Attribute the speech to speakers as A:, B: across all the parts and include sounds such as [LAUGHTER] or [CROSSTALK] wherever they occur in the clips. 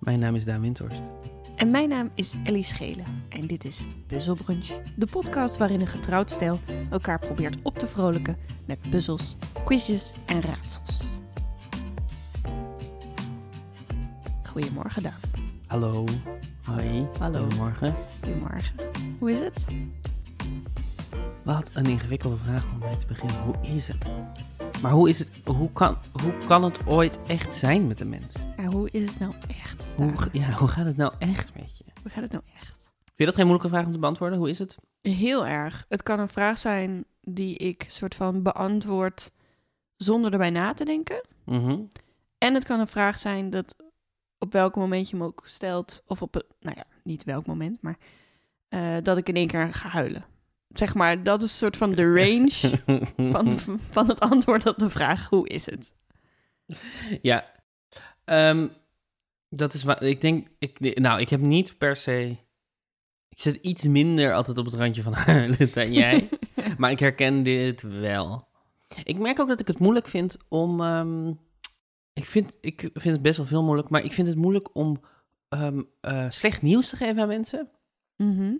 A: Mijn naam is Daan Windhorst.
B: En mijn naam is Ellie Schelen en dit is Puzzelbrunch, de podcast waarin een getrouwd stijl elkaar probeert op te vrolijken met puzzels, quizjes en raadsels. Goedemorgen Daan.
A: Hallo. Hoi.
B: Hallo.
A: Goedemorgen.
B: Goedemorgen. Hoe is het?
A: Wat een ingewikkelde vraag om mee te beginnen. Hoe is het? Maar hoe is het? Hoe kan, hoe kan het ooit echt zijn met een mens?
B: Ja, hoe is het nou echt? Daan?
A: Hoe, ga- ja, hoe gaat het nou echt met je? Vind
B: Hoe gaat het nou echt?
A: je dat geen moeilijke vraag om te beantwoorden? Hoe is het?
B: Heel erg. Het kan een vraag zijn die ik soort van beantwoord zonder erbij na te denken.
A: Mhm.
B: En het kan een vraag zijn dat op welk moment je hem ook stelt, of op, het- nou ja, niet welk moment, maar eh, dat ik in één keer ga huilen. Zeg maar, dat is een soort van
A: [LAUGHS]
B: de range van, van het antwoord op de vraag, hoe is het?
A: Ja. [LAUGHS] Ehm, dat is waar. Ik denk. Ik, nou, ik heb niet per se. Ik zit iets minder altijd op het randje van [LAUGHS] huilen dan jij. [LAUGHS] maar ik herken dit wel. Ik merk ook dat ik het moeilijk vind om. ehm, ik, vind, ik vind het best wel veel moeilijk. Maar ik vind het moeilijk om ehm, eh, slecht nieuws te geven aan mensen.
B: [LAUGHS] Mhm.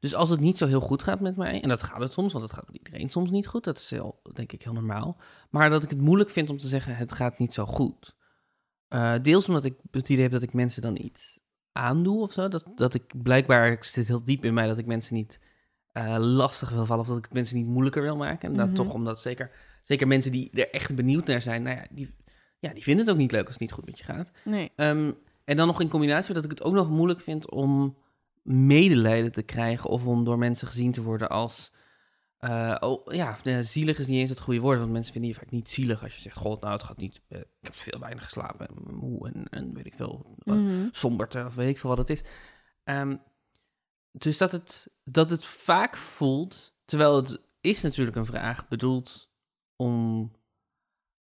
A: Dus als het niet zo heel goed gaat met mij, en dat gaat het soms, want het gaat met iedereen soms niet goed, dat is heel, denk ik heel normaal. Maar dat ik het moeilijk vind om te zeggen, het gaat niet zo goed. Eh, deels omdat ik het idee heb dat ik mensen dan iets aandoe of zo. Dat, dat ik blijkbaar ik zit heel diep in mij dat ik mensen niet eh, lastig wil vallen of dat ik het mensen niet moeilijker wil maken. En dat
B: Mhm.
A: toch omdat zeker, zeker mensen die er echt benieuwd naar zijn, nou ja, die, ja, die vinden het ook niet leuk als het niet goed met je gaat.
B: Nee.
A: Ehm, en dan nog in combinatie met dat ik het ook nog moeilijk vind om medelijden te krijgen of om door mensen gezien te worden als. eh, oh, ja, eh, zielig is niet eens het goede woord, want mensen vinden je vaak niet zielig als je zegt: God, nou, het gaat niet. eh, ik heb veel weinig geslapen en ben moe en, en weet ik veel. eh,
B: Mhm.
A: somberte of weet ik veel wat het is. Ehm, dus dat het, dat het vaak voelt, terwijl het is natuurlijk een vraag bedoeld om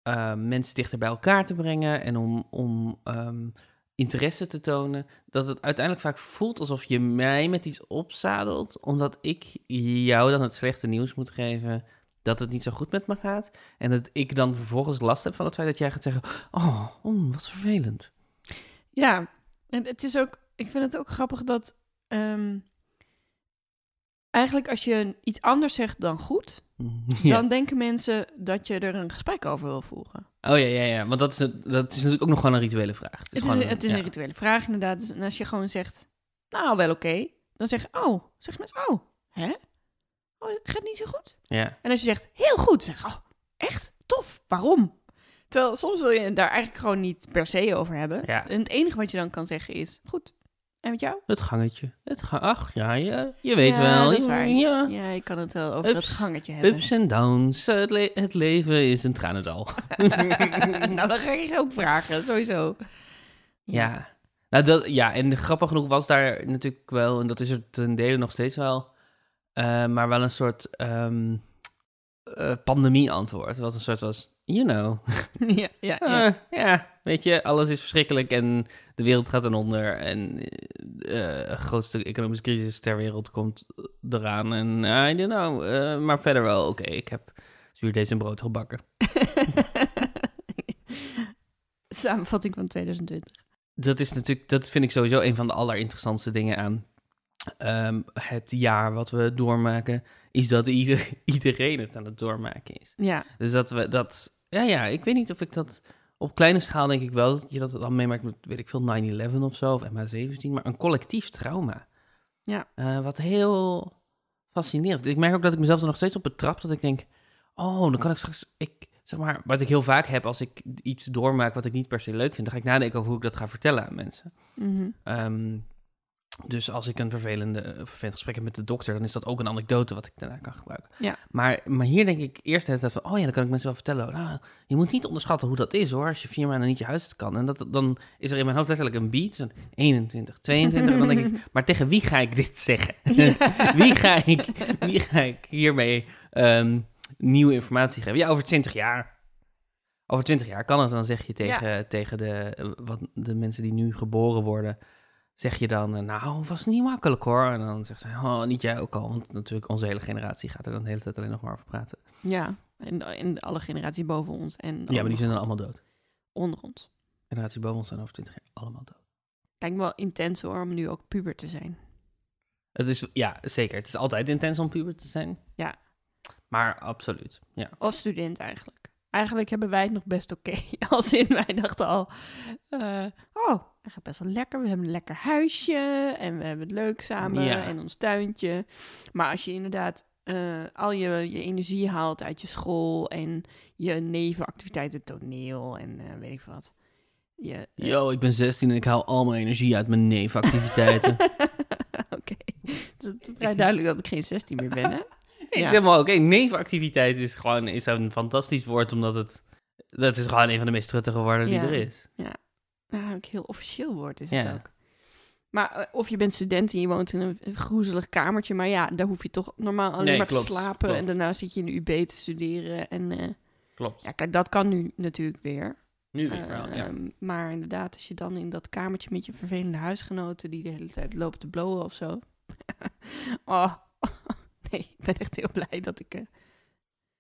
A: eh, mensen dichter bij elkaar te brengen en om, om ehm, interesse te tonen, dat het uiteindelijk vaak voelt alsof je mij met iets opzadelt, omdat ik jou dan het slechte nieuws moet geven dat het niet zo goed met me gaat en dat ik dan vervolgens last heb van het feit dat jij gaat zeggen, oh, mm, wat vervelend. [LAUGHS]
B: Ja, en het is ook, ik vind het ook grappig dat ehm, eigenlijk als je iets anders zegt dan goed,
A: Ja.
B: dan denken mensen dat je er een gesprek over wil voeren.
A: Oh ja, ja, ja. Want dat is, het- dat is natuurlijk ook nog gewoon een rituele vraag.
B: Het is,
A: gewoon
B: een, het is
A: ja.
B: een rituele vraag, inderdaad. Dus, en als je gewoon zegt, nou, wel oké. dan zeggen oh, zeg mensen, oh, hè? Oh, het gaat niet zo goed.
A: Ja.
B: En als je zegt, heel goed, zeg oh, echt? Tof, waarom? Terwijl soms wil je het daar eigenlijk gewoon niet per se over hebben.
A: Ja.
B: En het enige wat je dan kan zeggen is, goed, en met jou?
A: Het gangetje. Het ga Ach, ja, je, je weet
B: Ja,
A: wel.
B: dat is waar.
A: Ja.
B: Ja, je kan het wel over dat
A: Ups,
B: gangetje hebben. [LAUGHS]
A: Ups en downs. Het, le- het leven is een tranendal.
B: nou, dan ga ik je ook vragen,
A: [LAUGHS]
B: sowieso.
A: Ja. Nou, dat, ja, en grappig genoeg was daar natuurlijk wel, en dat is er ten dele nog steeds wel, eh, maar wel een soort ehm, eh, pandemie-antwoord. Wat een soort was, you know.
B: ja, [LAUGHS] ja, ja.
A: Eh, ja, weet je, alles is verschrikkelijk en de wereld gaat eronder onder. En eh, eh, de grootste economische crisis ter wereld komt eraan. En eh, I don't know, eh, maar verder wel. Oké, ik heb zuurdees en brood gebakken.
B: Samenvatting van 2020.
A: Dat is natuurlijk, dat vind ik sowieso een van de allerinteressantste dingen aan ehm, het jaar wat we doormaken. Is dat ieder, [LAUGHS] iedereen het aan het doormaken is.
B: Ja,
A: Dus dat we dat. Ja, ja, ik weet niet of ik dat. Op kleine schaal denk ik wel dat je dat dan meemaakt met, weet ik veel, 9-11 of zo, of MH17, maar een collectief trauma.
B: Ja.
A: Eh, wat heel fascinerend. Ik merk ook dat ik mezelf er nog steeds op betrap, dat ik denk, oh, dan kan ik straks, ik, zeg maar, wat ik heel vaak heb als ik iets doormaak wat ik niet per se leuk vind, dan ga ik nadenken over hoe ik dat ga vertellen aan mensen.
B: mhm.
A: Ehm, dus als ik een vervelende, eh, vervelend gesprek heb met de dokter, dan is dat ook een anekdote wat ik daarna kan gebruiken.
B: Ja.
A: Maar, maar hier denk ik eerst de hele tijd van, oh ja, dan kan ik mensen wel vertellen. Nou, je moet niet onderschatten hoe dat is hoor, als je vier maanden niet je huis uit kan. En dat, dan is er in mijn hoofd letterlijk een beat, zo'n 21, 22. en dan denk ik, [LAUGHS] maar tegen wie ga ik dit zeggen? wie, ga ik, [LAUGHS] wie ga ik hiermee ehm, nieuwe informatie geven? Ja, over 20 jaar. Over 20 jaar kan het, dan zeg je tegen, tegen de, eh, wat, de mensen die nu geboren worden, zeg je dan, eh, nou, was niet makkelijk hoor. En dan zegt ze, oh, niet jij ook al. Want natuurlijk, onze hele generatie gaat er dan de hele tijd alleen nog maar over praten.
B: Ja, en, en alle generaties boven ons en
A: ja, maar die
B: allemaal
A: zijn dan allemaal dood.
B: onder ons.
A: Generaties boven ons zijn over 20 jaar allemaal dood.
B: Lijkt me wel intens hoor, om nu ook puber te zijn.
A: Het is, ja, zeker. Het is altijd intens om puber te zijn.
B: Ja.
A: Maar absoluut, ja.
B: Of student eigenlijk. Eigenlijk hebben wij het nog best oké. [LAUGHS] Als in, wij dachten al, eh, oh, het gaat best wel lekker. We hebben een lekker huisje en we hebben het leuk samen
A: Ja.
B: en ons tuintje. Maar als je inderdaad eh, al je, je energie haalt uit je school en je nevenactiviteiten, toneel en eh, weet ik veel wat. Je, eh,
A: Yo, ik ben 16 en ik haal al mijn energie uit mijn nevenactiviteiten.
B: [LAUGHS] Oké, het is vrij duidelijk dat ik geen 16 meer ben, hè?
A: Nee,
B: Ja.
A: Zeg maar, oké, nevenactiviteit is gewoon is een fantastisch woord, omdat het... Dat is gewoon een van de meest truttige woorden
B: Ja.
A: die er is.
B: Nou, ook heel officieel wordt is het
A: Ja.
B: ook. Maar eh, of je bent student en je woont in een groezelig kamertje, maar ja, daar hoef je toch normaal alleen
A: Nee,
B: maar
A: klopt,
B: te slapen
A: klopt.
B: en daarna zit je in de UB te studeren. En eh,
A: Klopt.
B: ja, kijk, dat kan nu natuurlijk weer.
A: Nu weer wel, ja.
B: Ehm, Maar inderdaad, als je dan in dat kamertje met je vervelende huisgenoten die de hele tijd lopen te blowen of zo. [LAUGHS] oh, [LAUGHS] nee, ik ben echt heel blij dat ik eh,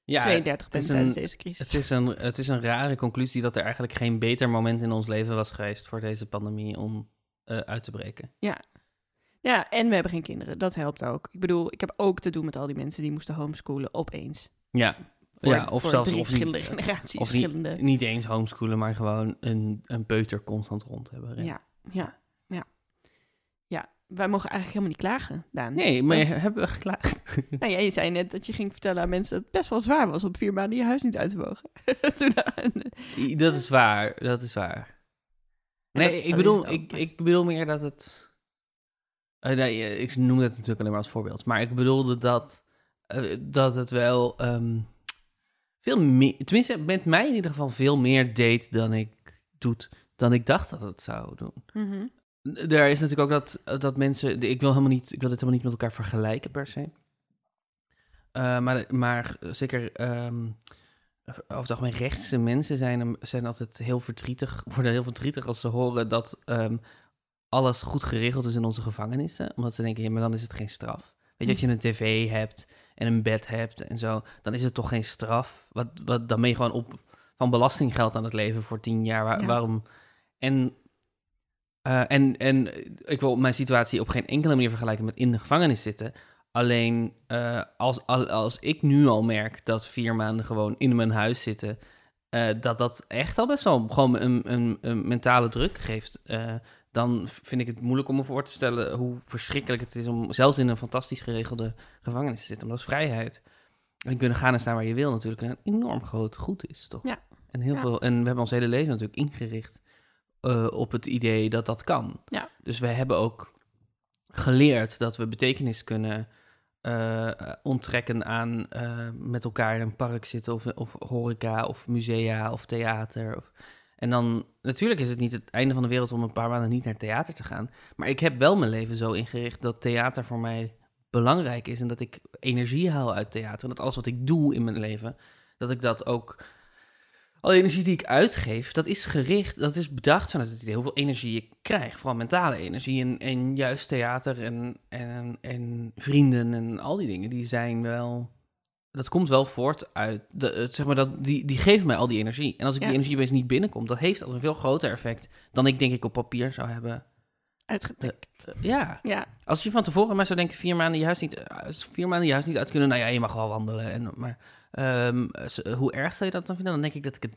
A: Ja,
B: 32 ben
A: is
B: tijdens
A: een-
B: deze crisis.
A: Het is, een, het is een rare conclusie dat er eigenlijk geen beter moment in ons leven was geweest voor deze pandemie om eh, uit te breken.
B: Ja, en we hebben geen kinderen. Dat helpt ook. Ik bedoel, ik heb ook te doen met al die mensen die moesten homeschoolen opeens.
A: Ja,
B: Voor,
A: ja of
B: voor
A: zelfs
B: drie
A: of
B: verschillende
A: niet,
B: generaties.
A: of niet-
B: verschillende.
A: niet eens homeschoolen, maar gewoon een, een peuter constant rond hebben. rennen.
B: Ja, ja, ja. Ja, wij mogen eigenlijk helemaal niet klagen, Daan.
A: Nee, maar
B: Dat-
A: hebben we geklaagd?
B: Nou ja, je zei net dat je ging vertellen aan mensen dat het best wel zwaar was om vier maanden je huis niet uit te mogen. [LAUGHS] Toen aan- eh,
A: Dat is waar, dat is waar. Nee,
B: dat-
A: ik,
B: dat is
A: bedoel,
B: het ook,
A: ik,
B: maar-
A: ik bedoel meer dat het... eh, nee, eh, ik noem dat natuurlijk alleen maar als voorbeeld. Maar ik bedoelde dat, eh, dat het wel ehm, veel meer... Tenminste, met mij in ieder geval veel meer deed dan ik, doet, dan ik dacht dat het zou doen.
B: Mhm.
A: Er is natuurlijk ook dat, eh, dat mensen. Ik wil, helemaal niet, ik wil dit helemaal niet met elkaar vergelijken, per se. Eh, maar, maar zeker. ehm over het algemeen rechtse mensen zijn, hem- zijn altijd heel verdrietig. [LAUGHS] Worden heel verdrietig als ze horen dat ehm, alles goed geregeld is in onze gevangenissen. Omdat ze denken, ja, maar dan is het geen straf. Weet je, als je een tv hebt en een bed hebt en zo, dan is het toch geen straf. Wat, wat, dan ben je gewoon op van belastinggeld aan het leven voor tien jaar. Wa-
B: Ja.
A: Waarom? En eh, en, en ik wil mijn situatie op geen enkele manier vergelijken met in de gevangenis zitten. Alleen eh, als, al- als ik nu al merk dat vier maanden gewoon in mijn huis zitten, eh, dat dat echt al best wel gewoon een, een, een mentale druk geeft. eh, dan vind ik het moeilijk om me voor te stellen hoe verschrikkelijk het is om zelfs in een fantastisch geregelde gevangenis te zitten. Omdat vrijheid en kunnen gaan en staan waar je wil natuurlijk een enorm groot goed is, toch?
B: Ja.
A: En, heel
B: Ja.
A: Veel, en we hebben ons hele leven natuurlijk ingericht eh, op het idee dat dat kan.
B: Ja.
A: Dus we hebben ook geleerd dat we betekenis kunnen eh, onttrekken aan eh, met elkaar in een park zitten of, of horeca of musea of theater. Of, en dan, natuurlijk is het niet het einde van de wereld om een paar maanden niet naar theater te gaan. Maar ik heb wel mijn leven zo ingericht dat theater voor mij belangrijk is. En dat ik energie haal uit theater. En dat alles wat ik doe in mijn leven, dat ik dat ook. Alle energie die ik uitgeef, dat is gericht, dat is bedacht vanuit het idee hoeveel energie ik krijg. Vooral mentale energie en, en juist theater en, en, en vrienden en al die dingen, die zijn wel... Dat komt wel voort uit, de, het- zeg maar, dat, die, die geven mij al die energie. En als ik
B: Ja.
A: die energie opeens niet binnenkom, dat heeft als een veel groter effect dan ik denk ik op papier zou hebben. Eh,
B: Uitgetikt.
A: Ja,
B: Ja,
A: als je van tevoren maar zou denken, vier maanden je huis niet, eh, vier maanden je huis niet uit kunnen, nou ja, je mag wel wandelen. En, maar ehm, s- hoe erg zou je dat dan vinden? Dan denk ik dat ik, het,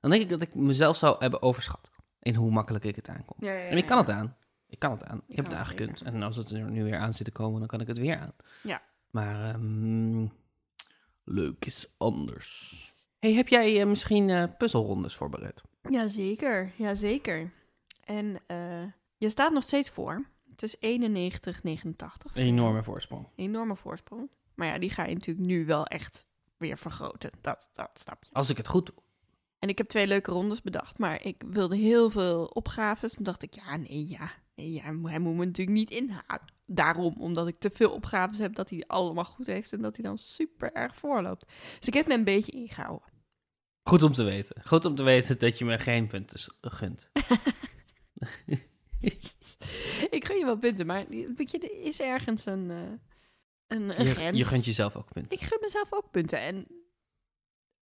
A: dan denk ik, dat ik mezelf zou hebben overschat in hoe makkelijk ik het aankom.
B: ja, ja, ja.
A: En ik kan het aan. Ik kan het aan. Ik
B: Je
A: heb
B: kan
A: het
B: het
A: aangekund. En als het er nu weer aan zit te komen, dan kan ik het weer aan.
B: Ja.
A: Maar ehm, leuk is anders. Hey, heb jij eh, misschien eh, puzzelrondes voorbereid?
B: Jazeker, jazeker. En eh, je staat nog steeds voor. Het is 91-89.
A: Enorme voorsprong.
B: Enorme voorsprong. Maar ja, die ga je natuurlijk nu wel echt weer vergroten. Dat, dat snap je.
A: Als ik het goed doe.
B: En ik heb twee leuke rondes bedacht, maar ik wilde heel veel opgaves. Toen dacht ik, ja, nee, ja. Nee, ja, hij moet- hij moet me natuurlijk niet inhalen. Daarom, omdat ik te veel opgaves heb, dat hij allemaal goed heeft en dat hij dan super erg voorloopt. Dus ik heb me een beetje
A: [LAUGHS]
B: ingehouden.
A: Goed om te weten. Goed om te weten dat je me geen punten s- gunt.
B: ik gun je wel punten, maar weet je, er is ergens een, eh, een, een
A: je,
B: grens.
A: je gunt jezelf ook punten.
B: Ik gun mezelf ook punten. En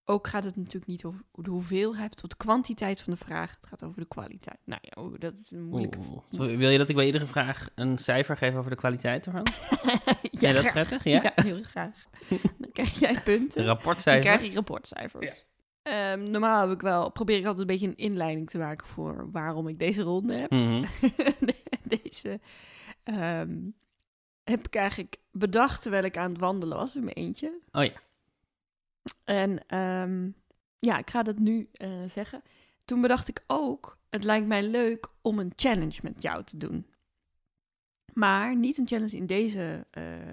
B: ook gaat het natuurlijk niet over de hoeveelheid of de kwantiteit van de vraag. Het gaat over de kwaliteit. Nou ja, oeh, dat is een moeilijke...
A: Oeh, sorry, wil je dat ik bij iedere vraag een cijfer geef over de kwaliteit
B: [LAUGHS]
A: ervan?
B: ja,
A: Jij dat
B: graag.
A: prettig? Ja.
B: Ja, heel graag. Dan krijg jij punten. Dan
A: Rapportcijfer.
B: krijg je rapportcijfers. Ehm, normaal heb ik wel, probeer ik altijd een beetje een inleiding te maken voor waarom ik deze ronde heb. [LAUGHS]
A: Mhm.
B: deze ehm, heb ik eigenlijk bedacht terwijl ik aan het wandelen was in mijn eentje.
A: Oh ja.
B: En ehm, ja, ik ga dat nu eh, zeggen. Toen bedacht ik ook, het lijkt mij leuk om een challenge met jou te doen. Maar niet een challenge in deze eh,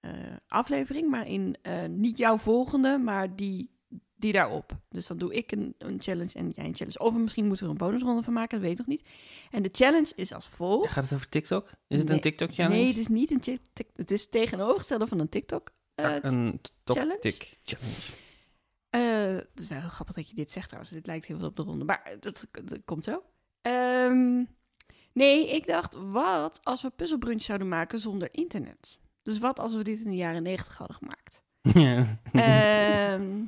B: eh, aflevering, maar in eh, niet jouw volgende, maar die, die daarop. Dus dan doe ik een, een challenge en jij een challenge. Of misschien moeten we er een bonusronde van maken, dat weet ik nog niet. En de challenge is als volgt.
A: Gaat het over TikTok? Is het
B: Nee.
A: een TikTok-challenge?
B: Nee, het is niet een chi- tik- Het is het tegenovergestelde van een TikTok. eh,
A: Tak- een [LAUGHS]
B: challenge?
A: TikTok-challenge.
B: Eh, het is wel heel grappig dat je dit zegt trouwens. Dit lijkt heel veel op de ronde, maar dat, dat komt zo. Ehm, nee, ik dacht, wat als we puzzelbrunch zouden maken zonder internet? Dus wat als we dit in de jaren negentig hadden gemaakt?
A: [LAUGHS]
B: Ehm,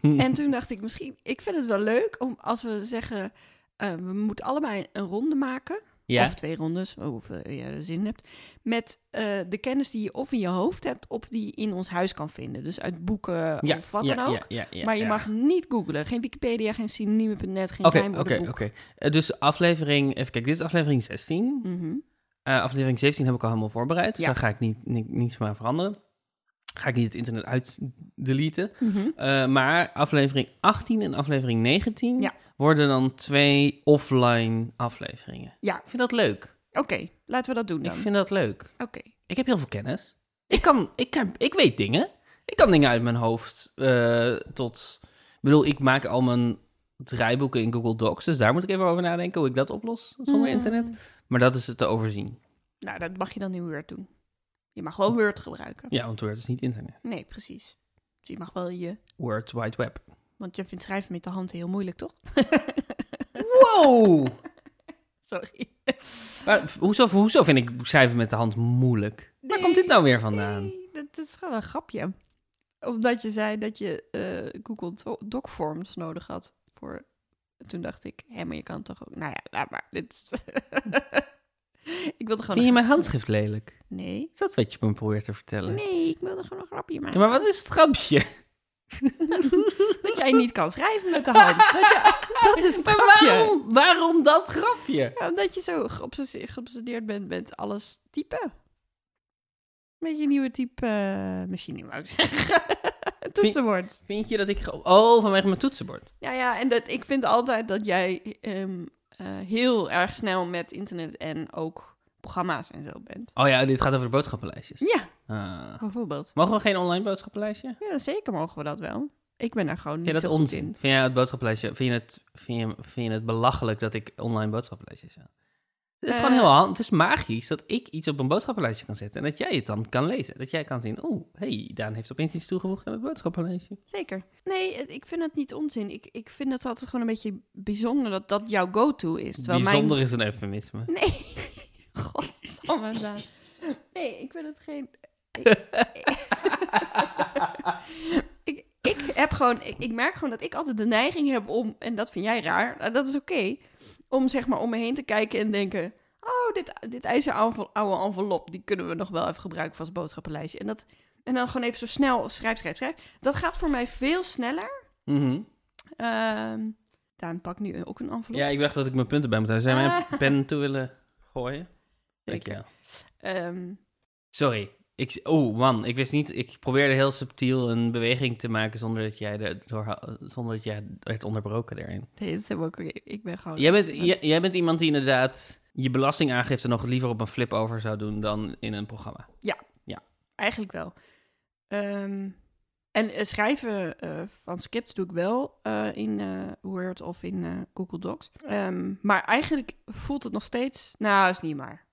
B: en toen dacht ik, misschien, ik vind het wel leuk om als we zeggen, eh, we moeten allebei een ronde maken.
A: ja.
B: Of twee rondes, hoeveel je er zin in hebt. Met eh, de kennis die je of in je hoofd hebt, of die je in ons huis kan vinden. Dus uit boeken
A: ja.
B: of wat
A: ja,
B: dan ook.
A: Ja, ja, ja,
B: maar je
A: ja.
B: mag niet googlen. Geen Wikipedia, geen synoniemen.net, geen
A: Oké,
B: rijmwoordenboek.
A: oké, oké. Eh, Dus aflevering, even kijken, dit is aflevering 16.
B: Mhm.
A: Eh, aflevering 17 heb ik al helemaal voorbereid. Dus
B: Ja.
A: daar ga ik niet, ni- niets meer aan veranderen. Ga ik niet het internet uitdeleten.
B: Mhm.
A: Eh, maar aflevering 18 en aflevering 19
B: Ja.
A: worden dan twee offline afleveringen.
B: Ja.
A: Ik vind dat leuk.
B: Oké, laten we dat doen dan.
A: Ik vind dat leuk.
B: Oké.
A: Ik heb heel veel kennis. Ik, kan, ik, kan, ik weet dingen. Ik kan dingen uit mijn hoofd eh, tot... Ik bedoel, ik maak al mijn draaiboeken in Google Docs. Dus daar moet ik even over nadenken hoe ik dat oplos zonder
B: Mm.
A: internet. Maar dat is te overzien.
B: Nou, dat mag je dan in Word doen. Je mag wel Word gebruiken.
A: Ja, want Word is niet internet.
B: Nee, precies. Dus je mag wel je...
A: Word Wide Web.
B: Want je vindt schrijven met de hand heel moeilijk, toch?
A: Wow!
B: Sorry.
A: Maar v- hoezo, hoezo vind ik schrijven met de hand moeilijk? Waar
B: Nee,
A: komt dit nou weer vandaan?
B: Nee, dat, dat is gewoon een grapje. Omdat je zei dat je eh, Google Do- Doc Forms nodig had voor... Toen dacht ik, hé, maar je kan toch ook... Nou ja, laat maar. Dit is... [LAUGHS] ik wilde gewoon...
A: Vind je
B: een
A: mijn handschrift lelijk?
B: grap- Nee.
A: Is dat wat je me probeert te vertellen?
B: Nee, ik wilde gewoon een grapje maken.
A: Ja, maar wat is het grapje?
B: Dat jij niet kan schrijven met de
A: [LAUGHS]
B: hand. Dat, je- dat is het
A: Maar
B: grapje.
A: waarom, waarom dat grapje?
B: Ja, omdat je zo geobsesse- geobsedeerd bent met alles typen. Beetje nieuwe type eh, machine, wou ik zeggen. [LAUGHS] Toetsenbord.
A: Vind je dat ik... ge- Oh, vanwege mijn toetsenbord.
B: Ja, ja, en dat, ik vind altijd dat jij ehm, eh, heel erg snel met internet en ook programma's en zo bent.
A: Oh ja, dit gaat over de boodschappenlijstjes.
B: Ja,
A: Ah.
B: bijvoorbeeld.
A: mogen we geen online boodschappenlijstje?
B: Ja, zeker mogen we dat wel. Ik ben daar gewoon niet
A: Vind je
B: zo
A: dat
B: goed
A: onzin?
B: in.
A: Vind jij het boodschappenlijstje... Vind je het, vind je, vind je het belachelijk dat ik online boodschappenlijstjes heb? Het is gewoon
B: Eh.
A: heel hand. Het is magisch dat ik iets op een boodschappenlijstje kan zetten en dat jij het dan kan lezen. Dat jij kan zien, oh, hey, Daan heeft opeens iets toegevoegd aan het boodschappenlijstje.
B: Zeker. Nee, het- ik vind het niet onzin. Ik, ik vind het altijd gewoon een beetje bijzonder dat dat jouw go-to is. Terwijl [LAUGHS]
A: Bijzonder is een eufemisme.
B: Mijn... Nee. Godsamme. Daan. Nee, ik vind het geen... Ik, ik, ik heb gewoon... Ik, ik merk gewoon dat ik altijd de neiging heb om... En dat vind jij raar. nou, Dat is oké. om zeg maar om me heen te kijken en denken... Oh, dit, dit ijzer oude oude envelop, die kunnen we nog wel even gebruiken voor als boodschappenlijstje. En, dat, en dan gewoon even zo snel schrijf, schrijf, schrijf. Dat gaat voor mij veel sneller
A: Mhm.
B: Ehm Daan pakt nu ook een envelop.
A: Ja, ik dacht dat ik mijn punten bij moet houden. Zou je mijn
B: Ah.
A: pen toe willen gooien? Dankjewel.
B: Ehm,
A: Sorry. Ik, oh man, ik wist niet. Ik probeerde heel subtiel een beweging te maken zonder dat jij, er door, zonder dat jij werd onderbroken daarin.
B: nee, dat is helemaal oké. Ik ben gewoon...
A: Jij bent, jij, jij bent iemand die inderdaad je belastingaangifte nog liever op een flip over zou doen dan in een programma.
B: Eigenlijk wel. Ehm, en eh, schrijven eh, van scripts doe ik wel eh, in eh, Word of in eh, Google Docs. Ehm, maar eigenlijk voelt het nog steeds... Nou, is niet maar.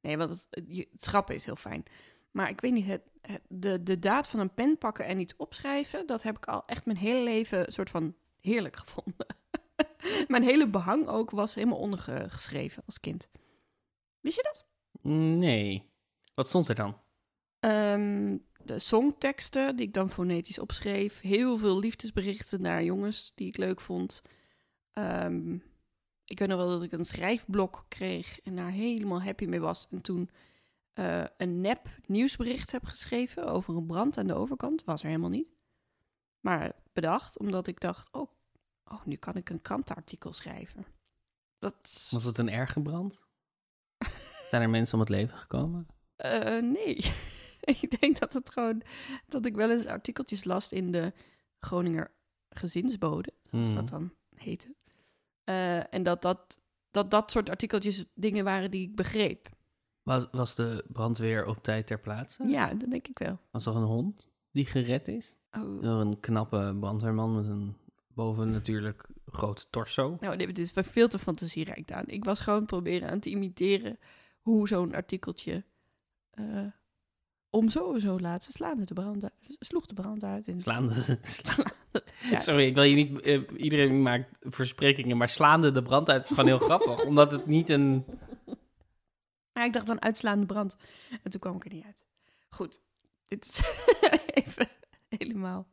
B: Nee, want het, het- je- het schrappen is heel fijn. Maar ik weet niet, het, het- de, de daad van een pen pakken en iets opschrijven... dat heb ik al echt mijn hele leven een soort van heerlijk gevonden. [LAUGHS] mijn hele behang ook was helemaal ondergeschreven als kind. Wist je dat?
A: Nee. Wat stond er dan?
B: Ehm, de songteksten die ik dan fonetisch opschreef. Heel veel liefdesberichten naar jongens die ik leuk vond. Ehm, ik weet nog wel dat ik een schrijfblok kreeg en daar helemaal happy mee was. En toen eh, een nep nieuwsbericht heb geschreven over een brand aan de overkant. Was er helemaal niet. Maar bedacht, omdat ik dacht, oh, oh nu kan ik een krantenartikel schrijven. Dat is-
A: Was het een erge brand?
B: [LAUGHS]
A: Zijn er mensen om het leven gekomen?
B: Eh, nee. [LAUGHS] ik denk dat het gewoon dat ik wel eens artikeltjes las in de Groninger gezinsbode, zoals
A: Hmm.
B: dat dan heette. Eh, en dat dat, dat dat soort artikeltjes dingen waren die ik begreep.
A: Was, was de brandweer op tijd ter plaatse?
B: Ja, dat denk ik wel.
A: Was er een hond die gered is?
B: Oh.
A: Door een knappe brandweerman met een boven natuurlijk groot torso.
B: Nou, dit, dit is wel veel te fantasierijk, Daan. Ik was gewoon proberen aan te imiteren hoe zo'n artikeltje eh, om zo en zo laat. Ze slaan de brand uit, ze sloeg de brand uit.
A: [LAUGHS]
B: En
A: Slaande.
B: Ja.
A: Sorry, ik wil je niet. eh, iedereen maakt versprekingen, maar slaande de brand uit is gewoon heel
B: [LAUGHS]
A: grappig. Omdat het niet een.
B: Maar ik dacht dan uitslaande brand. En toen kwam ik er niet uit. Goed, dit is [LAUGHS] even helemaal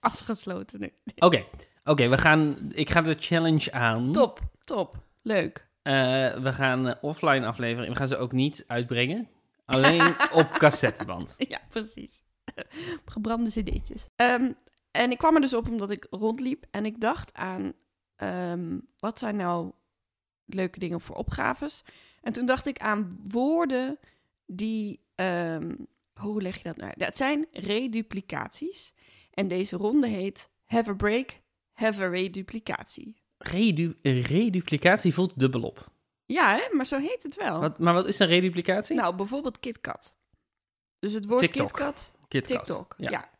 B: afgesloten nu.
A: Oké, oké, we gaan. Ik ga de challenge aan.
B: Top, top. Leuk.
A: Eh, we gaan eh, offline afleveren. We gaan ze ook niet uitbrengen.
B: [LAUGHS]
A: Alleen op cassetteband.
B: Ja, precies. [LAUGHS] Gebrande cd'tjes. Ehm, en ik kwam er dus op omdat ik rondliep. En ik dacht aan, ehm, wat zijn nou leuke dingen voor opgaves? En toen dacht ik aan woorden die, ehm, hoe leg je dat nou uit? Dat zijn reduplicaties. En deze ronde heet have a break, have a reduplicatie.
A: Redu reduplicatie voelt dubbel op.
B: Ja, hè? maar zo heet het wel.
A: Wat, maar wat is een reduplicatie?
B: Oh. Nou, bijvoorbeeld KitKat. Dus het woord
A: TikTok.
B: KitKat
A: KitKat.
B: TikTok,
A: Ja.
B: ja.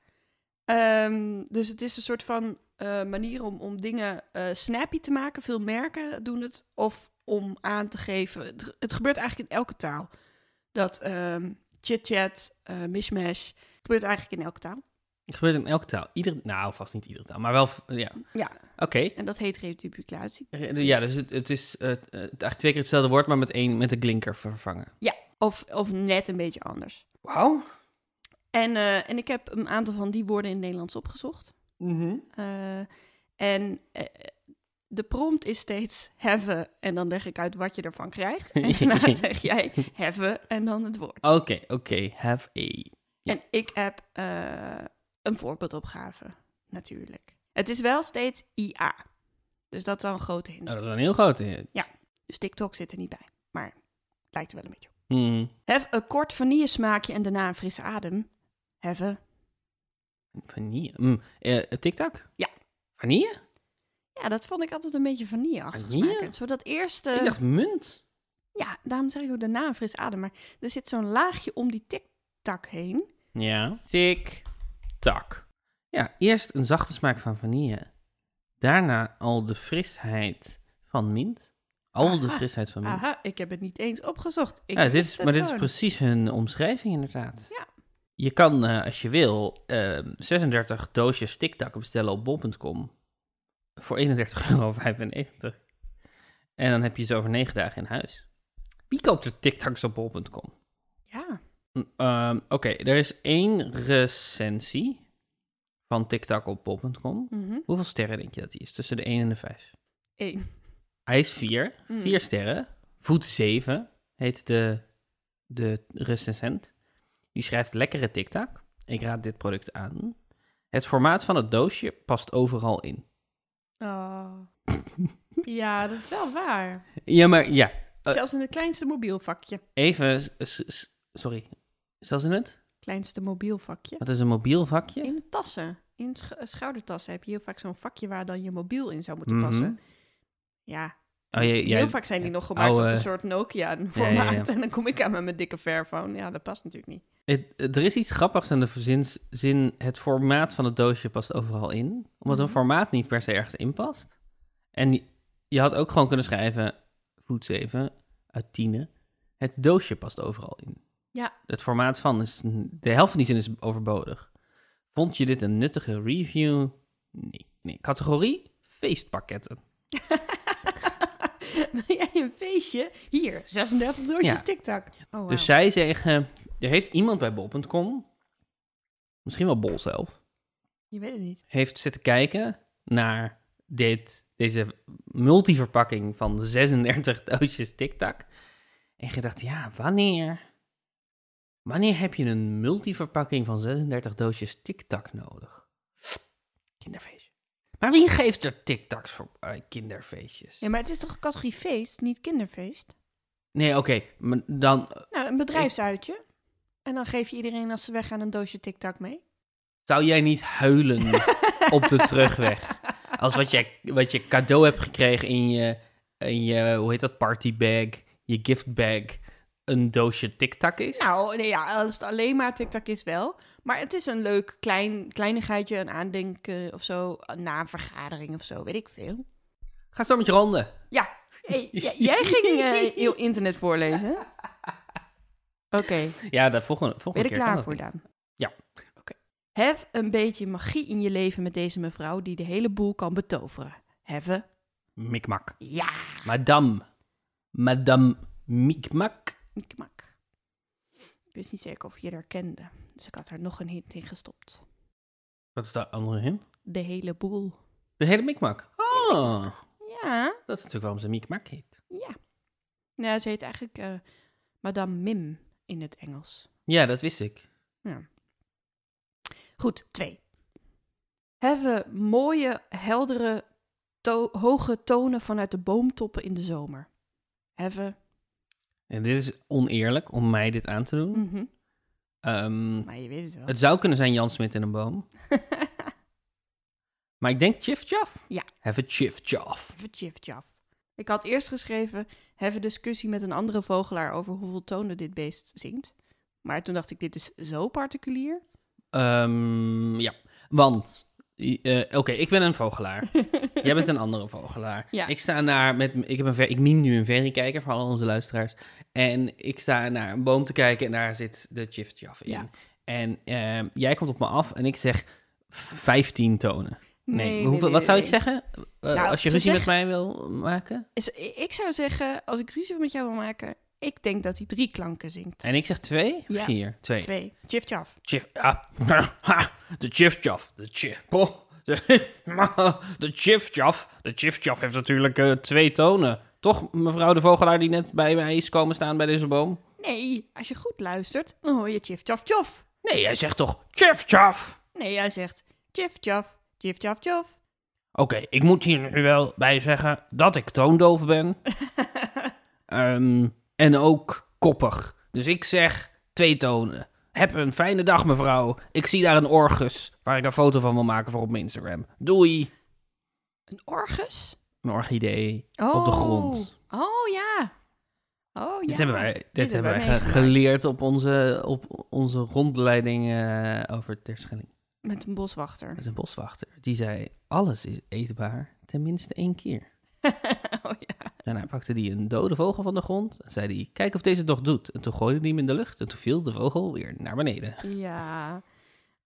B: Ehm, dus het is een soort van eh, manier om, om dingen eh, snappy te maken. Veel merken doen het. Of om aan te geven. Het, het gebeurt eigenlijk in elke taal. Dat ehm chit-chat, eh, mishmash. Het gebeurt eigenlijk in elke taal.
A: Het gebeurt in elke taal. Ieder, nou, vast niet iedere taal, maar wel. Ja.
B: Ja,
A: Oké.
B: en dat heet reduplicatie.
A: Ja, dus het, het is eh, eh, eigenlijk twee keer hetzelfde woord, maar met één met een klinker vervangen.
B: Of, of net een beetje anders.
A: Wauw.
B: En, eh, en ik heb een aantal van die woorden in het Nederlands opgezocht. Eh, en eh, de prompt is steeds hebben en dan leg ik uit wat je ervan
A: [LAUGHS]
B: krijgt. En daarna zeg jij hebben en dan het woord.
A: Oké, oké. Have a. Oh, ja.
B: En ik heb eh, een voorbeeldopgave, natuurlijk. Het is wel steeds IA. Dus dat is al een grote hint.
A: Oh, dat is wel een heel grote. hint.
B: Dus TikTok zit er niet bij, maar het lijkt er wel een beetje op.
A: Hmm.
B: Have een kort vanillesmaakje en daarna een frisse adem. Have.
A: Vanille. Mm. Eh, TikTok?
B: Ja.
A: Vanille?
B: Ja, dat vond ik altijd een beetje vanilleachtig
A: Vanille?
B: smaken. Zo dat eerste...
A: Ik dacht munt.
B: Ja, daarom zeg ik ook daarna een fris adem. Maar er zit zo'n laagje om die tik-tak heen.
A: Ja. Tik-tak. Ja, eerst een zachte smaak van vanille. Daarna al de frisheid van mint. Al de
B: Aha.
A: frisheid van mint.
B: Aha, ik heb het niet eens opgezocht.
A: ja,
B: Ik
A: Nou, dit
B: wist
A: is,
B: het
A: maar dit is
B: gewoon.
A: precies hun omschrijving, inderdaad.
B: Ja.
A: Je kan, eh, als je wil, eh, 36 doosjes tiktakken bestellen op bol.com voor 31,95 euro. En dan heb je ze over 9 dagen in huis. Wie koopt er tiktaks op bol.com?
B: Ja,
A: Mm, ehm, Oké, er is één recensie van tiktak op bol.com.
B: mhm.
A: Hoeveel sterren denk je dat die is? Tussen de 1 en de 5.
B: Eén.
A: Hij is vier.
B: Mm.
A: Vier sterren. Voet 7 heet de, de recensent. Die schrijft lekkere TikTok. Ik raad dit product aan. Het formaat van het doosje past overal in.
B: Oh. ja, dat is
A: [LAUGHS]
B: wel waar.
A: Ja, maar ja. Eh.
B: Zelfs in het kleinste mobielvakje.
A: Even, s- s- s- sorry. Zelfs in het?
B: Kleinste mobielvakje.
A: Wat is een mobiel vakje?
B: In de tassen. In sch- schoudertassen heb je heel vaak zo'n vakje waar dan je mobiel in zou moeten
A: Mhm.
B: passen. Ja,
A: Oh, jij, jij-
B: heel vaak zijn die nog
A: het
B: gemaakt op
A: oude-
B: een soort
A: Ja, ja,
B: Nokia-formaat.
A: ja.
B: En dan kom ik aan met mijn dikke Fairphone. Ja, dat past natuurlijk niet.
A: Het- het- er is iets grappigs aan de zin, zin. Het formaat van het doosje past overal in. Omdat een
B: Mhm.
A: formaat niet per se ergens in past. En je- je had ook gewoon kunnen schrijven: voet 7 uit 10. Het doosje past overal in.
B: Ja.
A: Het formaat van is. De helft van die zin is overbodig. Vond je dit een nuttige review? Nee. nee. Categorie: feestpakketten.
B: [LAUGHS] Wil jij een feestje? Hier, 36 doosjes
A: Ja.
B: tic-tac. Oh, wauw.
A: Dus zij zeggen: er heeft iemand bij bol.com misschien wel Bol zelf,
B: Je weet het niet.
A: heeft zitten kijken naar dit, deze multiverpakking van 36 [LAUGHS] doosjes Tic Tac. En gedacht, ja, wanneer... Wanneer heb je een multiverpakking van 36 doosjes Tic Tac nodig? Kinderfeestje. Maar wie geeft er Tic Tacs voor bij kinderfeestjes?
B: Ja, maar het is toch categorie feest, niet kinderfeest?
A: Nee, oké, maar dan
B: Nou, een bedrijfsuitje. En dan geef je iedereen als ze weggaan een doosje tic-tac mee.
A: zou jij niet huilen op de terugweg. Als wat je, wat je cadeau hebt gekregen in je, in je, hoe heet dat, partybag, je giftbag, een doosje tic-tac is.
B: Nou, nee, ja, als het alleen maar tic-tac is wel. Maar het is een leuk klein, kleinigheidje, een aandenken of zo. Na een vergadering of zo, weet ik veel.
A: Ga zo met je ronde.
B: Ja, hey, j- jij ging eh heel internet voorlezen. Oké,
A: Ja, de volgende, volgende
B: ben je er
A: keer kan
B: klaar
A: dat
B: voor,
A: niet.
B: Daan?
A: Ja.
B: Oké. Hef een beetje magie in je leven met deze mevrouw die de hele boel kan betoveren. Heffen?
A: Mikmak.
B: Ja.
A: Madame. Madame Mikmak.
B: Mikmak. Ik wist niet zeker of je haar kende, dus ik had er nog een hint in gestopt.
A: Wat is daar andere hint?
B: De hele boel.
A: De hele Mikmak. Oh,
B: Ja,
A: dat is natuurlijk waarom ze Mikmak heet.
B: ja. Nou, ze heet eigenlijk eh, Madame Mim in het Engels.
A: Ja, dat wist ik.
B: Goed, twee. Hebben mooie, heldere, to- hoge tonen vanuit de boomtoppen in de zomer. Hebben.
A: En dit is oneerlijk om mij dit aan te doen.
B: Mhm.
A: Ehm,
B: Maar je weet het wel.
A: het zou kunnen zijn Jan Smit in een boom. Maar ik denk Chif Chaff.
B: Ja.
A: Have a Chif Chaff.
B: [LAUGHS] Even tjif-tjaf. Ik had eerst geschreven, hebben discussie met een andere vogelaar over hoeveel tonen dit beest zingt. Maar toen dacht ik, dit is zo particulier.
A: Ehm, ja, want... eh, Oké, ik ben een
B: [LAUGHS]
A: vogelaar. [LAUGHS] Jij bent een andere vogelaar.
B: Ja.
A: Ik sta naar... Met, ik, heb een ver, ik miem nu een verrekijker voor al onze luisteraars. En ik sta naar een boom te kijken en daar zit de Chif Chaff in.
B: Ja.
A: En ehm, jij komt op me af en ik zeg 15 tonen. Nee, hoeveel, wat zou ik
B: nee.
A: zeggen? Eh,
B: Nou,
A: als je
B: ze
A: ruzie met mij
B: zeggen-
A: wil maken?
B: Is, ik zou zeggen, als ik ruzie met jou wil maken, ik denk dat hij drie klanken zingt.
A: En ik zeg twee?
B: Ja.
A: Vier? Twee.
B: Twee. Chif chaf.
A: Chif, ah, [LAUGHS] ha, de chifchaf, de chif, oh, de, [LAUGHS] de chifchaf, de chifchaf heeft natuurlijk eh, twee tonen. Toch, mevrouw de vogelaar die net bij mij is komen staan bij deze boom?
B: Nee, als je goed luistert, dan hoor je chif chaf chof.
A: Nee, hij zegt toch chifchaf?
B: Nee, hij zegt chif chaf, chif chaf chof.
A: Oké, ik moet hier nu wel bij zeggen dat ik toondoof ben. Ehm, en ook koppig. Dus ik zeg twee tonen. Heb een fijne dag, mevrouw. Ik zie daar een orgus waar ik een foto van wil maken voor op mijn Instagram. Doei!
B: [LAUGHS] Een orgus?
A: Een orchidee
B: Oh.
A: op de grond.
B: Oh ja. Oh ja.
A: Dit hebben wij, dit hebben
B: Dit
A: wij
B: hebben wij
A: ge-
B: meegemaakt.
A: geleerd op onze, op onze rondleiding eh, over Terschelling.
B: Met een boswachter.
A: [LAUGHS] Dat is een boswachter. Die zei, alles is eetbaar, tenminste één keer.
B: oh ja.
A: Daarna pakte hij een dode vogel van de grond en zei hij, kijk of deze het nog doet. En toen gooide hij hem in de lucht en toen viel de vogel weer naar beneden.
B: Ja.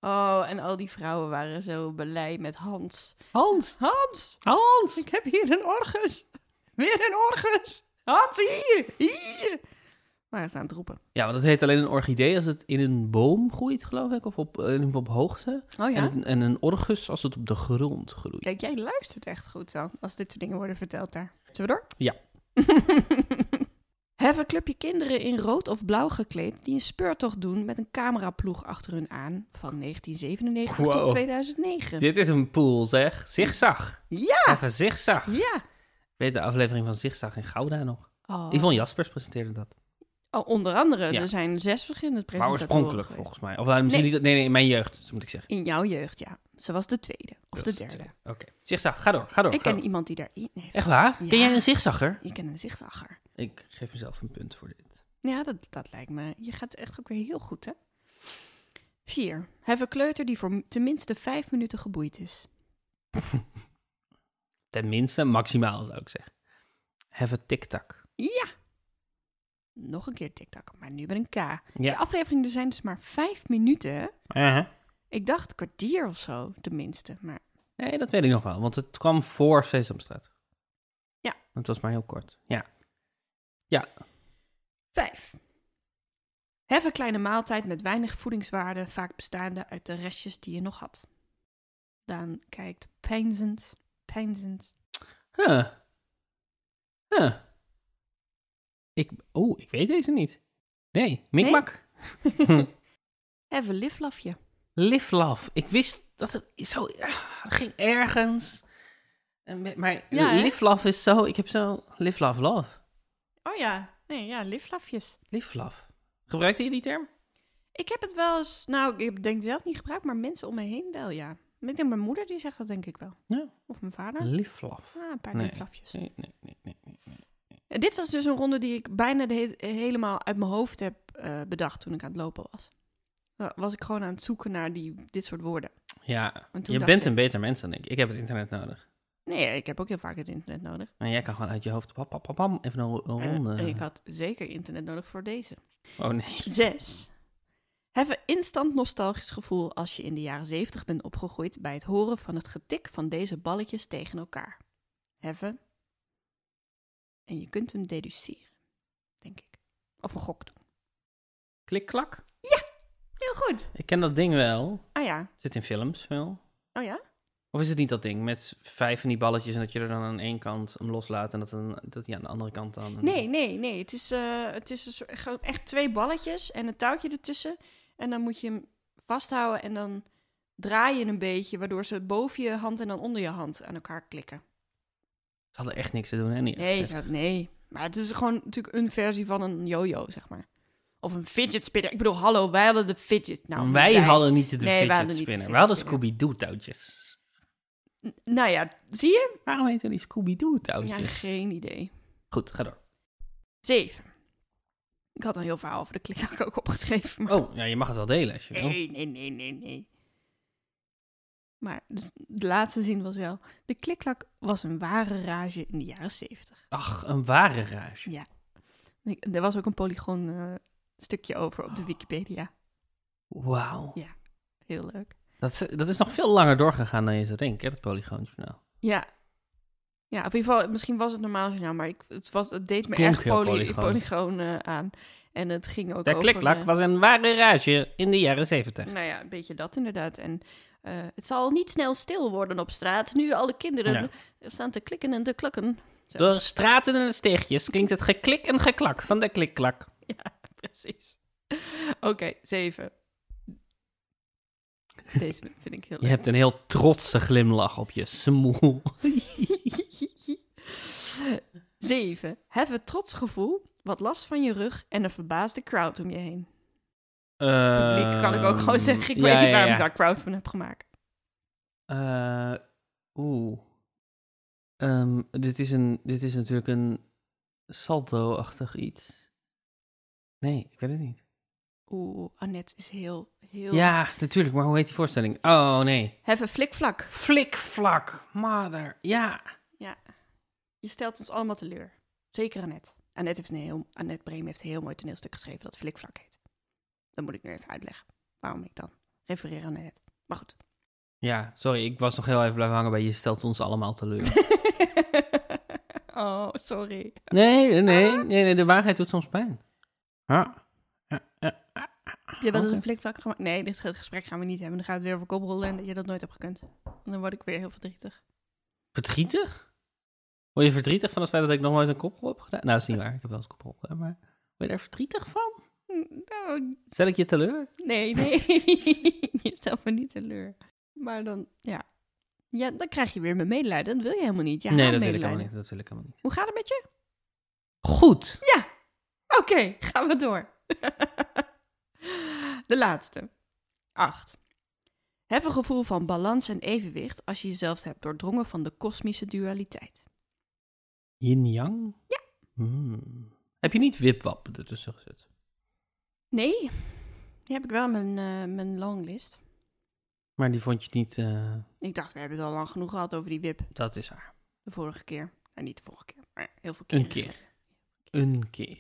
B: Oh, en al die vrouwen waren zo blij met Hans.
A: Hans!
B: Hans,
A: Hans!
B: ik heb hier een orgus. Weer een orgus. Hans, hier, hier. Maar hij is aan het roepen.
A: Ja, want dat heet alleen een orchidee als het in een boom groeit, geloof ik, of op, eh, op hoogte.
B: Oh
A: En, het- en een orgus als het op de grond groeit.
B: Kijk, jij luistert echt goed dan, als dit soort dingen worden verteld daar. Zullen we door? [LAUGHS]
A: Ja.
B: Hef een clubje kinderen in rood of blauw gekleed die een speurtocht doen met een cameraploeg achter hun aan van 1997
A: Wow.
B: tot 2009.
A: Dit is een pool, zeg. Zigzag.
B: Ja,
A: Even zigzag.
B: ja.
A: Weet de aflevering van Zigzag in Gouda nog?
B: Oh.
A: Yvonne Jaspers presenteerde dat.
B: Oh, onder andere,
A: Ja.
B: er zijn zes verschillende
A: Maar
B: presentatoren
A: oorspronkelijk
B: geweest.
A: volgens mij. Of nou, misschien
B: Nee.
A: niet. Nee, nee, in mijn jeugd, zo moet ik zeggen.
B: In jouw jeugd, ja. Ze was de tweede of de
A: Dat is
B: derde.
A: het. Oké. Zigzag, ga door, ga door.
B: Ik
A: ga
B: ken
A: door.
B: iemand die daarin heeft.
A: Echt waar?
B: gezeten.
A: Ken jij
B: Ja,
A: een zigzagger?
B: Ik ken een zigzagger.
A: Ik geef mezelf een punt voor dit.
B: Ja, dat, dat lijkt me. Je gaat echt ook weer heel goed, hè? Vier. Heb een kleuter die voor m- tenminste vijf minuten geboeid is.
A: Tenminste, maximaal zou ik zeggen. Have a tic-tac.
B: Ja! Nog een keer TikTok, maar nu met een K. De
A: Ja.
B: afleveringen er zijn dus maar vijf minuten. hè?
A: Uh-huh.
B: Ik dacht kwartier of zo, tenminste. Maar
A: Nee, dat weet ik nog wel, want het kwam voor Sesamstraat.
B: Ja.
A: Het was maar heel kort. Ja.
B: vijf. Hef een kleine maaltijd met weinig voedingswaarde, vaak bestaande uit de restjes die je nog had. Daan kijkt peinzend, peinzend.
A: Huh. Huh. Ik, oh, ik weet deze niet. Nee, mikmak.
B: Hef een liflafje.
A: Liflaf. Ik wist dat het zo... ah, dat ging ergens. En met- Maar
B: Ja, hè?
A: liflaf is zo... Ik heb zo... Liflaf love.
B: Oh ja, nee, ja, liflafjes.
A: Liflaf. Gebruikte je die term?
B: Ik heb het wel eens, nou, ik heb- denk zelf niet gebruikt, maar mensen om me heen wel, ja. Ik denk mijn moeder, die zegt dat denk ik wel.
A: Ja.
B: Of mijn vader.
A: Liflaf.
B: Ah, een paar
A: Nee.
B: liflafjes.
A: Nee, nee, nee, nee. nee.
B: En dit was dus een ronde die ik bijna de he- helemaal uit mijn hoofd heb eh, bedacht toen ik aan het lopen was. Dan was ik gewoon aan het zoeken naar die, dit soort woorden.
A: Ja,
B: En toen
A: je
B: dacht
A: bent
B: ik-
A: een beter mens dan ik. Ik heb het internet nodig.
B: Nee, ik heb ook heel vaak het internet nodig.
A: En jij kan gewoon uit je hoofd... Pam, pam, pam, pam, even een, ro- een
B: En-
A: ronde...
B: Eh, en ik had zeker internet nodig voor deze.
A: Oh nee.
B: Zes. Heb een instant nostalgisch gevoel als je in de jaren zeventig bent opgegroeid bij het horen van het getik van deze balletjes tegen elkaar. Heffen. En je kunt hem deduceren, denk ik. Of een gok doen.
A: Klik, klak.
B: Heel goed.
A: Ik ken dat ding wel.
B: Ah ja.
A: Zit in films wel.
B: Oh ja?
A: Of is het niet dat ding met vijf van die balletjes en dat je er dan aan één kant hem loslaat en dat, dan, dat die aan de andere kant dan...
B: Nee, nee, nee. Het is, eh, het is een soort- gewoon echt twee balletjes en een touwtje ertussen. En dan moet je hem vasthouden en dan draai je een beetje, waardoor ze boven je hand en dan onder je hand aan elkaar klikken.
A: Ze hadden echt niks te doen, hè? die
B: Nee,
A: opzet.
B: zo- nee. Maar het is gewoon natuurlijk een versie van een yo-yo, zeg maar. Of een fidget spinner. Ik bedoel, hallo, wij hadden de fidget. Nou,
A: wij
B: niet
A: hadden niet de
B: Nee, wij
A: fidget
B: hadden niet de
A: spinner. We
B: fidget
A: hadden
B: spinner.
A: Scooby-Doo-touwtjes.
B: N- Nou ja, zie je?
A: Waarom heten die
B: Ja,
A: Scooby-Doo-touwtjes?
B: geen idee.
A: Goed, ga door.
B: Zeven. Ik had een heel verhaal over de klik ook opgeschreven. [LAUGHS] Maar...
A: Oh, ja, je mag het wel delen als je wil.
B: Nee, nee, nee, nee, nee. Maar de, de laatste zin was wel... De klikklak was een ware rage in de jaren zeventig.
A: Ach, een ware rage.
B: Ik- Er was ook een polygoon eh, stukje over op de
A: Oh.
B: Wikipedia.
A: Wauw.
B: Ja. Heel leuk.
A: Dat, is- dat is nog veel langer doorgegaan dan je zou denken, hè, dat polygoontje nou.
B: Ja. Ja, of in ieder geval, misschien was het normaal journaal, maar ik, het, was, het deed me
A: Klonk
B: erg
A: heel
B: poly,
A: polygoon.
B: polygoon, eh, aan. En het ging ook
A: De
B: over...
A: kliklak
B: eh,
A: was een ware rage in de jaren zeventig.
B: Nou ja, een beetje dat inderdaad. En eh, het zal niet snel stil worden op straat, nu alle kinderen
A: Ja.
B: staan te klikken en te klakken. [LAUGHS] Zo.
A: Door straten en steegjes klinkt het geklik en geklak van de klikklak.
B: Precies. Oké, zeven. Deze vind ik heel
A: Je
B: leuk.
A: hebt een heel trotse glimlach op je smoel.
B: [LAUGHS] zeven. Heb een trots gevoel, wat last van je rug en een verbaasde crowd om je heen. publiek, kan ik ook
A: Ehm,
B: gewoon zeggen. Ik weet niet waarom ik daar crowd van heb gemaakt.
A: Eh, Oeh. Ehm, dit, is een, dit is natuurlijk een salto-achtig iets. Nee, ik weet het niet.
B: Oeh, Annette is heel, heel...
A: Ja, natuurlijk, maar hoe heet die voorstelling? Oh, nee.
B: Hef een flikvlak.
A: Flikvlak, mother. Ja.
B: Je stelt ons allemaal teleur. Zeker Annette. Annette, heeft een heel, Annette Breem heeft een heel mooi toneelstuk geschreven dat flikvlak heet. Dat moet ik nu even uitleggen. Waarom ik dan refereer aan Annette. Maar goed. [LAUGHS]
A: Ja, sorry, ik was nog heel even blijven hangen bij je stelt ons allemaal teleur. [LAUGHS]
B: oh, sorry.
A: Nee, nee, nee, nee, nee, de waarheid doet soms pijn. Ja. Ja, ja.
B: Heb je wel eens
A: Oké.
B: een flikvlak gemaakt? Nee, dit ge- gesprek gaan we niet hebben. Dan gaat het weer over koprollen en dat je dat nooit hebt gekund. En dan word ik weer heel verdrietig.
A: Verdrietig? Word je verdrietig van het feit dat ik nog nooit een koprol heb gedaan? Nou, is niet waar. Ik heb wel eens koprol gedaan, maar word je daar verdrietig van?
B: Hm, Nou,
A: Stel ik je teleur?
B: [LAUGHS] Nee, nee. je stelt me niet teleur. Maar dan, ja. Ja, dan krijg je weer mijn medelijden. Dat wil je helemaal niet. Ja,
A: nee,
B: haar
A: dat wil ik
B: medelijden.
A: helemaal niet. Dat wil ik helemaal niet.
B: Hoe gaat het met je?
A: Goed.
B: Oké, [LAUGHS] gaan we door. De laatste. Acht. Hef een gevoel van balans en evenwicht als je jezelf hebt doordrongen van de kosmische dualiteit.
A: Yin-yang? Ja. Hmm. Heb je niet wipwap ertussen gezet?
B: Nee, die heb ik wel in mijn, eh, mijn longlist.
A: Maar die vond je niet... eh,
B: Ik dacht, we hebben het al lang genoeg gehad over die wip
A: dat is haar.
B: de vorige keer. Nou, niet de vorige keer, maar heel veel keer.
A: Een keer. Een keer.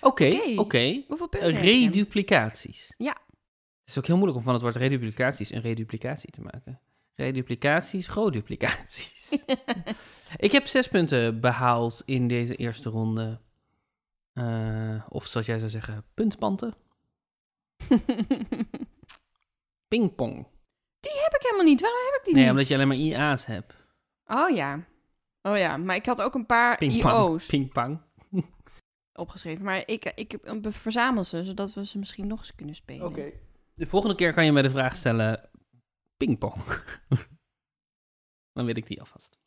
A: Oké,
B: Oké.
A: oké.
B: Hoeveel punten heb je?
A: Reduplicaties.
B: Ja.
A: Het is ook heel moeilijk om van het woord reduplicaties een reduplicatie te maken. Reduplicaties,
B: [LAUGHS]
A: goduplicaties. ik heb zes punten behaald in deze eerste ronde. Eh, of zoals jij zou zeggen, puntpanten.
B: [LAUGHS]
A: Pingpong.
B: heb ik helemaal niet. Waarom heb ik die
A: Nee,
B: niet?
A: omdat je alleen maar IA's hebt.
B: Oh ja. Oh ja, maar ik had ook een paar
A: Pingpong.
B: IO's
A: Pingpong.
B: opgeschreven. Maar ik, ik eh, verzamel ze, zodat we ze misschien nog eens kunnen spelen.
A: De volgende keer kan je mij de vraag stellen: pingpong. [LAUGHS] Dan weet ik die alvast.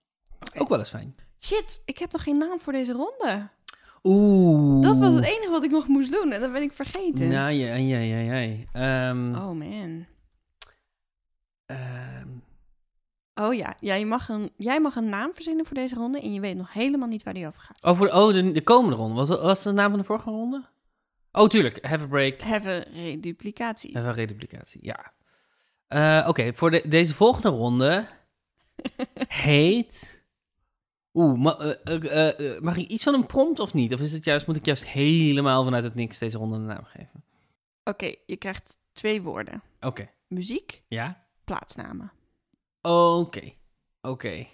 A: Ook wel eens fijn.
B: Shit, ik heb nog geen naam voor deze ronde.
A: Oeh.
B: Dat was het enige wat ik nog moest doen en dat ben ik vergeten.
A: Ja, Nou, ja, ja, ja, ja. Ehm,
B: Oh man.
A: ehm,
B: Oh ja, ja je mag een, jij mag een naam verzinnen voor deze ronde en je weet nog helemaal niet waar die over gaat.
A: oh, voor de, oh, de, de komende ronde. Was, dat- was de naam van de vorige ronde? Oh, tuurlijk. Have a break.
B: Hebben reduplicatie.
A: Even een reduplicatie, ja. Eh, Oké, voor de, deze volgende ronde heet... Oeh, ma- eh, eh, eh, eh, mag ik iets van een prompt of niet? Of is het juist, moet ik juist helemaal vanuit het niks deze ronde een naam geven?
B: [LAUGHS] Oké, je krijgt twee woorden.
A: Oké,
B: Muziek,
A: ja?
B: plaatsnamen.
A: Oké, oké.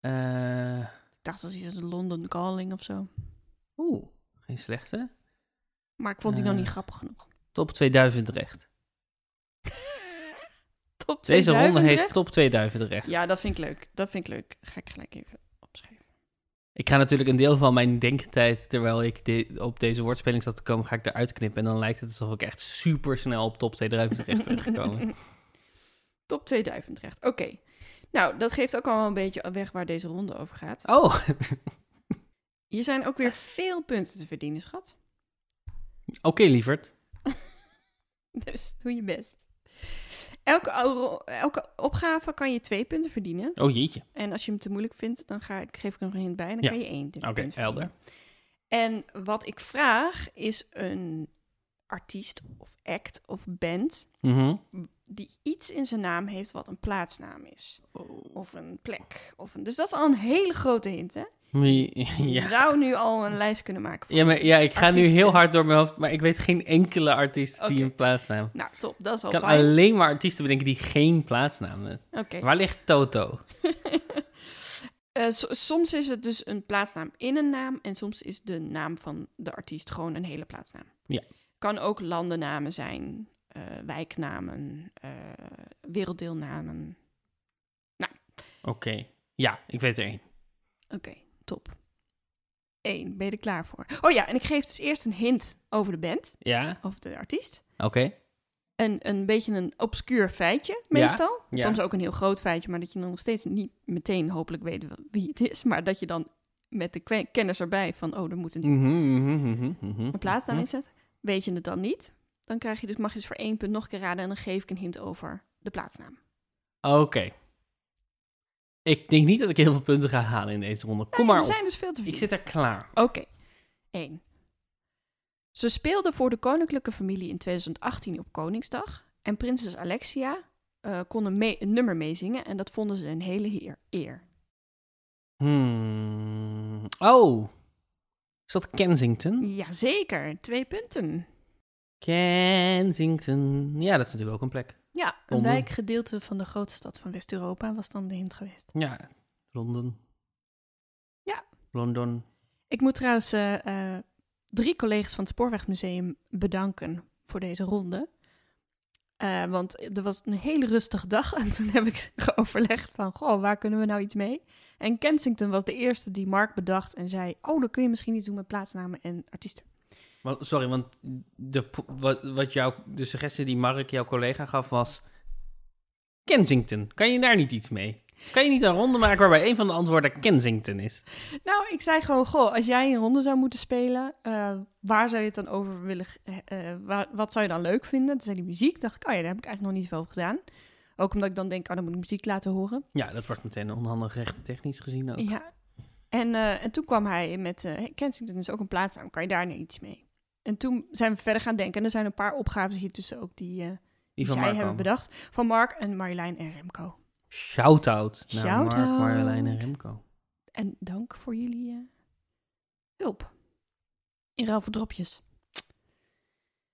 A: Eh,
B: Ik dacht dat iets als London Calling of zo.
A: Oeh, geen slechte.
B: Maar ik vond die
A: Eh.
B: nog niet grappig genoeg.
A: Top 2000 recht.
B: [LAUGHS] Top
A: Deze
B: 2000
A: ronde heet
B: recht?
A: Top 2000 recht.
B: Ja, dat vind ik leuk. Dat vind ik leuk. Ga ik gelijk even opschrijven.
A: Ik ga natuurlijk een deel van mijn denktijd, terwijl ik de- op deze woordspeling zat te komen, ga ik eruit knippen. En dan lijkt het alsof ik echt super snel op top 2000 terecht ben
B: [LAUGHS]
A: gekomen.
B: Top 2000 recht. Oké. Nou, dat geeft ook al wel een beetje weg waar deze ronde over gaat.
A: Oh, oké.
B: Hier zijn ook weer veel punten te verdienen, schat. [LAUGHS]
A: lieverd.
B: Dus doe je best. Elke, euro- elke opgave kan je twee punten verdienen.
A: Oh jeetje.
B: En als je hem te moeilijk vindt, dan ga, ik- geef ik er nog een hint bij. En dan
A: Ja.
B: kan je één punt
A: Oké, helder.
B: verdienen. En wat ik vraag is een artiest of act of band...
A: Mhm.
B: die iets in zijn naam heeft wat een plaatsnaam is. Of een plek. Of een... Dus dat is al een hele grote hint, hè? Je
A: [LAUGHS]
B: [LAUGHS]
A: ja.
B: zou nu al een lijst kunnen maken.
A: [LAUGHS]
B: Voor...
A: Ja, maar, ja, ik ga nu
B: Artiesten.
A: heel hard door mijn hoofd, maar ik weet geen enkele artiest die
B: Oké.
A: een plaatsnaam.
B: Nou, top. Dat is al
A: Ik kan
B: fijn.
A: alleen maar artiesten bedenken die geen plaatsnaam hebben.
B: Oké.
A: Waar ligt Toto?
B: [LAUGHS] Eh, so- soms is het dus een plaatsnaam in een naam en soms is de naam van de artiest gewoon een hele plaatsnaam.
A: Ja.
B: Kan ook landennamen zijn, eh, wijknamen, eh, werelddeelnamen.
A: Oké. Ja, ik weet er één.
B: Oké, top. Eén, ben je er klaar voor? Oh ja, en ik geef dus eerst een hint over de band,
A: Ja,
B: over de artiest.
A: oké.
B: Een, een beetje een obscuur feitje,
A: Ja,
B: meestal.
A: ja.
B: Soms ook een heel groot feitje, maar dat je dan nog steeds niet meteen hopelijk weet wel wie het is. Maar dat je dan met de kwe- kennis erbij van, oh, er moet een
A: Mhm, mhm, mhm, mhm.
B: een plaatsnaam
A: Mhm.
B: inzet, weet je het dan niet, dan krijg je dus, mag je dus voor één punt nog een keer raden en dan geef ik een hint over de plaatsnaam.
A: Oké. Ik denk niet dat ik heel veel punten ga halen in deze ronde. Kom
B: Nee,
A: maar
B: er
A: op.
B: zijn dus veel te
A: Ik
B: veel.
A: zit er klaar.
B: Oké, één. Ze speelde voor de koninklijke familie in 2018 op Koningsdag en prinses Alexia eh, kon een, me- een nummer meezingen en dat vonden ze een hele heer- eer.
A: Hmm. Oh. Is dat Kensington?
B: Jazeker, twee punten.
A: Kensington. Ja, dat is natuurlijk ook een plek.
B: Ja, een
A: Londen.
B: wijkgedeelte van de grote stad van West-Europa was dan de hint geweest.
A: Ja, Londen.
B: Ja.
A: Londen.
B: Ik moet trouwens eh, eh, drie collega's van het Spoorwegmuseum bedanken voor deze ronde. Eh, want er was een hele rustige dag en toen heb ik [LAUGHS] overlegd van, goh, waar kunnen we nou iets mee? En Kensington was de eerste die Mark bedacht en zei, oh, dan kun je misschien iets doen met plaatsnamen en artiesten.
A: Wa- Sorry, want de, po- wat, wat jou, de suggestie die Mark, jouw collega, gaf was... Kensington. Kan je daar niet iets mee? Kan je niet een ronde maken waarbij een van de antwoorden Kensington is?
B: Nou, ik zei gewoon, goh, als jij een ronde zou moeten spelen, eh, waar zou je het dan over willen, g- eh, eh, waar- wat zou je dan leuk vinden? Toen zei die muziek, dacht ik, oh ja, daar heb ik eigenlijk nog niet zoveel over gedaan. Ook omdat ik dan denk, oh, dan moet ik muziek laten horen.
A: Ja, dat wordt meteen onhandig rechten technisch gezien ook.
B: Ja. En, eh, en toen kwam hij met eh, hey, Kensington is ook een plaatsnaam, kan je daar nou iets mee? En toen zijn we verder gaan denken. En er zijn een paar opgaves hier tussen ook die, eh,
A: Die
B: zij
A: van Mark
B: hebben bedacht. Van Mark en Marjolein en Remco.
A: Shout-out naar Mark,
B: Shout-out.
A: Marjolein en Remco.
B: En dank voor jullie eh, hulp. In ruil voor dropjes.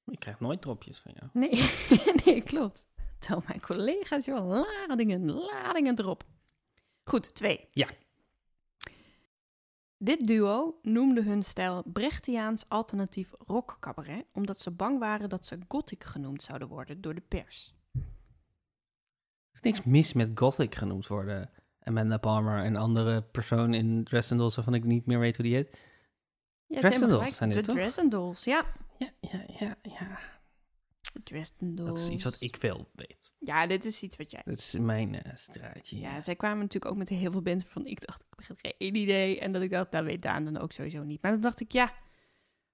A: Ik krijg nooit dropjes van jou.
B: Nee, [LAUGHS] nee klopt. Tel mijn collega's, joh. Ladingen, ladingen erop. Goed, twee.
A: Ja.
B: Dit duo noemde hun stijl Brechtiaans alternatief rockcabaret, omdat ze bang waren dat ze gothic genoemd zouden worden door de pers.
A: Er is niks mis met gothic genoemd worden. Amanda Palmer, een andere persoon in Dresden Dolls waarvan ik niet meer weet hoe die heet.
B: Ja,
A: Dresden
B: helemaal
A: Dolls
B: gelijk.
A: zijn dit,
B: De
A: toch?
B: Dresden Dolls, ja.
A: Ja, ja, ja, ja.
B: De Dresden Dolls.
A: Dat is iets wat ik veel weet.
B: Ja, dit is iets wat jij...
A: Dat is mijn eh, straatje.
B: Ja, zij kwamen natuurlijk ook met heel veel bands van ik dacht, ik heb geen idee. En dat ik dacht, dat weet Daan dan ook sowieso niet. Maar dan dacht ik, ja,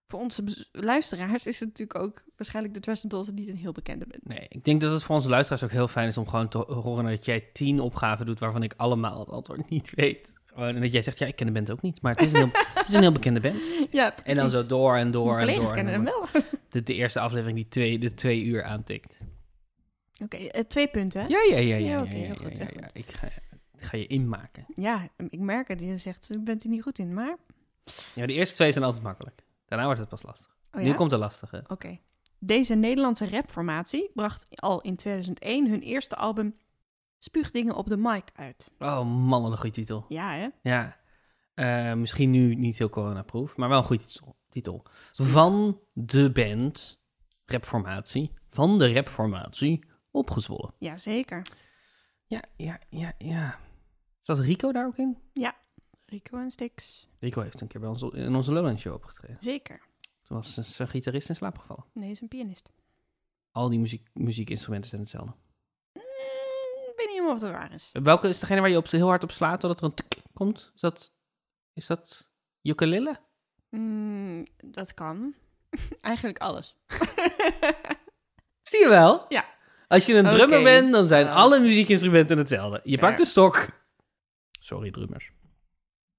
B: voor onze bez- luisteraars is het natuurlijk ook waarschijnlijk de Dresden Dolls niet een heel bekende band.
A: Nee, ik denk dat het voor onze luisteraars ook heel fijn is om gewoon te horen dat jij tien opgaven doet waarvan ik allemaal het antwoord [LAUGHS] niet weet. Gewoon, en dat jij zegt, ja, ik ken de band ook niet, maar het is een heel,
B: [LAUGHS]
A: het is een heel bekende band.
B: [LAUGHS] Ja, precies.
A: En dan zo door en door
B: Mijn
A: en
B: collega's
A: door. en
B: kennen hem
A: door.
B: wel. [LAUGHS]
A: De, de eerste aflevering die twee, de twee uur aantikt.
B: Oké, eh, twee punten. hè?
A: Ja, ja, ja, ja.
B: Ja,
A: ja,
B: oké,
A: ja,
B: heel
A: ja,
B: goed,
A: ja,
B: heel
A: ja.
B: goed.
A: Ik, ga, ik ga je inmaken.
B: Ja, ik merk het. Je zegt, ik ben er niet goed in, maar...
A: Ja, de eerste twee zijn altijd makkelijk. Daarna wordt het pas lastig.
B: Oh
A: Nu
B: ja?
A: komt de lastige.
B: Oké. Deze Nederlandse rapformatie bracht al in 2001 hun eerste album Spuugdingen op de mic uit.
A: Oh man, wat een goede titel.
B: Ja, hè?
A: Ja. Eh, misschien nu niet heel coronaproof, maar wel een goede titel. titel. Van de band, rapformatie, van de rapformatie, opgezwollen.
B: Jazeker.
A: Ja, ja, ja, ja. Zat Rico daar ook in?
B: Rico en Stix.
A: Rico heeft een keer bij ons in onze Lowland Show opgetreden.
B: Zeker.
A: Toen was z- zijn gitarist in slaap gevallen.
B: Nee, hij is een pianist.
A: Al die muziek, muziekinstrumenten zijn hetzelfde.
B: Mm, ik weet niet helemaal of dat waar is.
A: Welke is degene waar je op, heel hard op slaat, totdat er een tik komt? Is dat, is dat ukulele?
B: Mm, dat kan. [LAUGHS] Eigenlijk alles.
A: Zie je wel?
B: Ja.
A: Als je een
B: Oké.
A: drummer bent, dan zijn
B: Ja.
A: alle muziekinstrumenten hetzelfde. Je
B: Ja.
A: pakt de stok. Sorry, drummers.
B: [LAUGHS]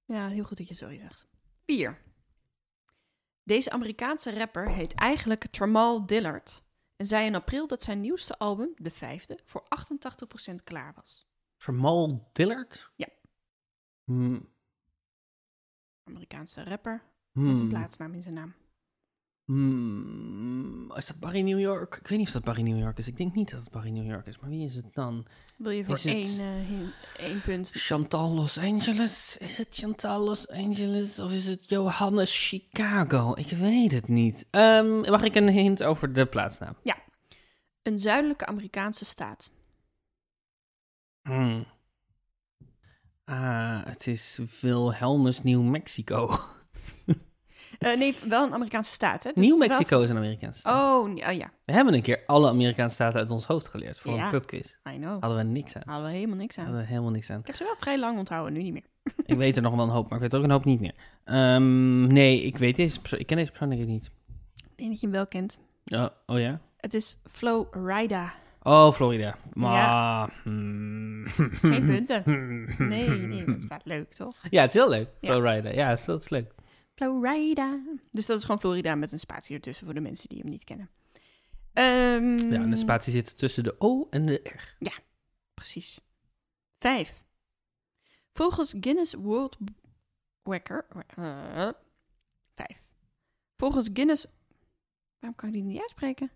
B: ja, heel goed dat je sorry zegt. 4. Deze Amerikaanse rapper heet eigenlijk Tramal Dillard. En zei in april dat zijn nieuwste album, de vijfde, voor 88% klaar was.
A: Vermal Dillard?
B: Ja.
A: Hmm,
B: Amerikaanse rapper
A: hmm,
B: met een plaatsnaam in zijn naam.
A: hmm. Is dat Barry New York? Ik weet niet of dat Barry New York is. Ik denk niet dat het Barry New York is. Maar wie is het dan?
B: Wil je voor
A: Is het-
B: één, eh, hin- één punt...
A: Chantal Los Angeles? Is het Chantal Los Angeles? Of is het Johannes Chicago? Ik weet het niet. Ehm, mag ik een hint over de plaatsnaam?
B: Een zuidelijke Amerikaanse staat.
A: Hmm. Ah, het is Wilhelmus, New
B: [LAUGHS]
A: Mexico.
B: Eh, nee, wel een Amerikaanse staat, hè? Dus
A: New
B: het is wel-
A: Mexico is een Amerikaanse staat.
B: Oh, nee, oh ja,
A: We hebben een keer alle Amerikaanse staten uit ons hoofd geleerd voor
B: Ja.
A: een pubquiz.
B: I know.
A: Hadden we niks aan.
B: Hadden we helemaal niks aan.
A: Hadden we helemaal niks aan.
B: Ik heb ze wel vrij lang onthouden, nu niet meer.
A: Ik weet er nog wel een hoop, maar ik weet er ook een hoop niet meer. Ehm, nee, ik weet deze persoon. Ik ken deze persoon denk ik niet.
B: Ik denk dat je hem wel kent.
A: Oh, oh ja?
B: Het is Flo Rida.
A: Oh, Florida. Maar, hmm. Hm,
B: Geen
A: [LAUGHS]
B: punten. Nee, nee, dat is wel leuk, toch?
A: Ja, het is heel leuk.
B: Ja.
A: Florida. Ja, is- dat is leuk.
B: Flo Rida. Dus dat is gewoon Florida met een spatie ertussen voor de mensen die hem niet kennen. Ehm,
A: Ja, en de spatie zit tussen de O en de R.
B: Precies. Vijf. Volgens Guinness World Record... eh, vijf. Volgens Guinness... Waarom kan ik die niet uitspreken?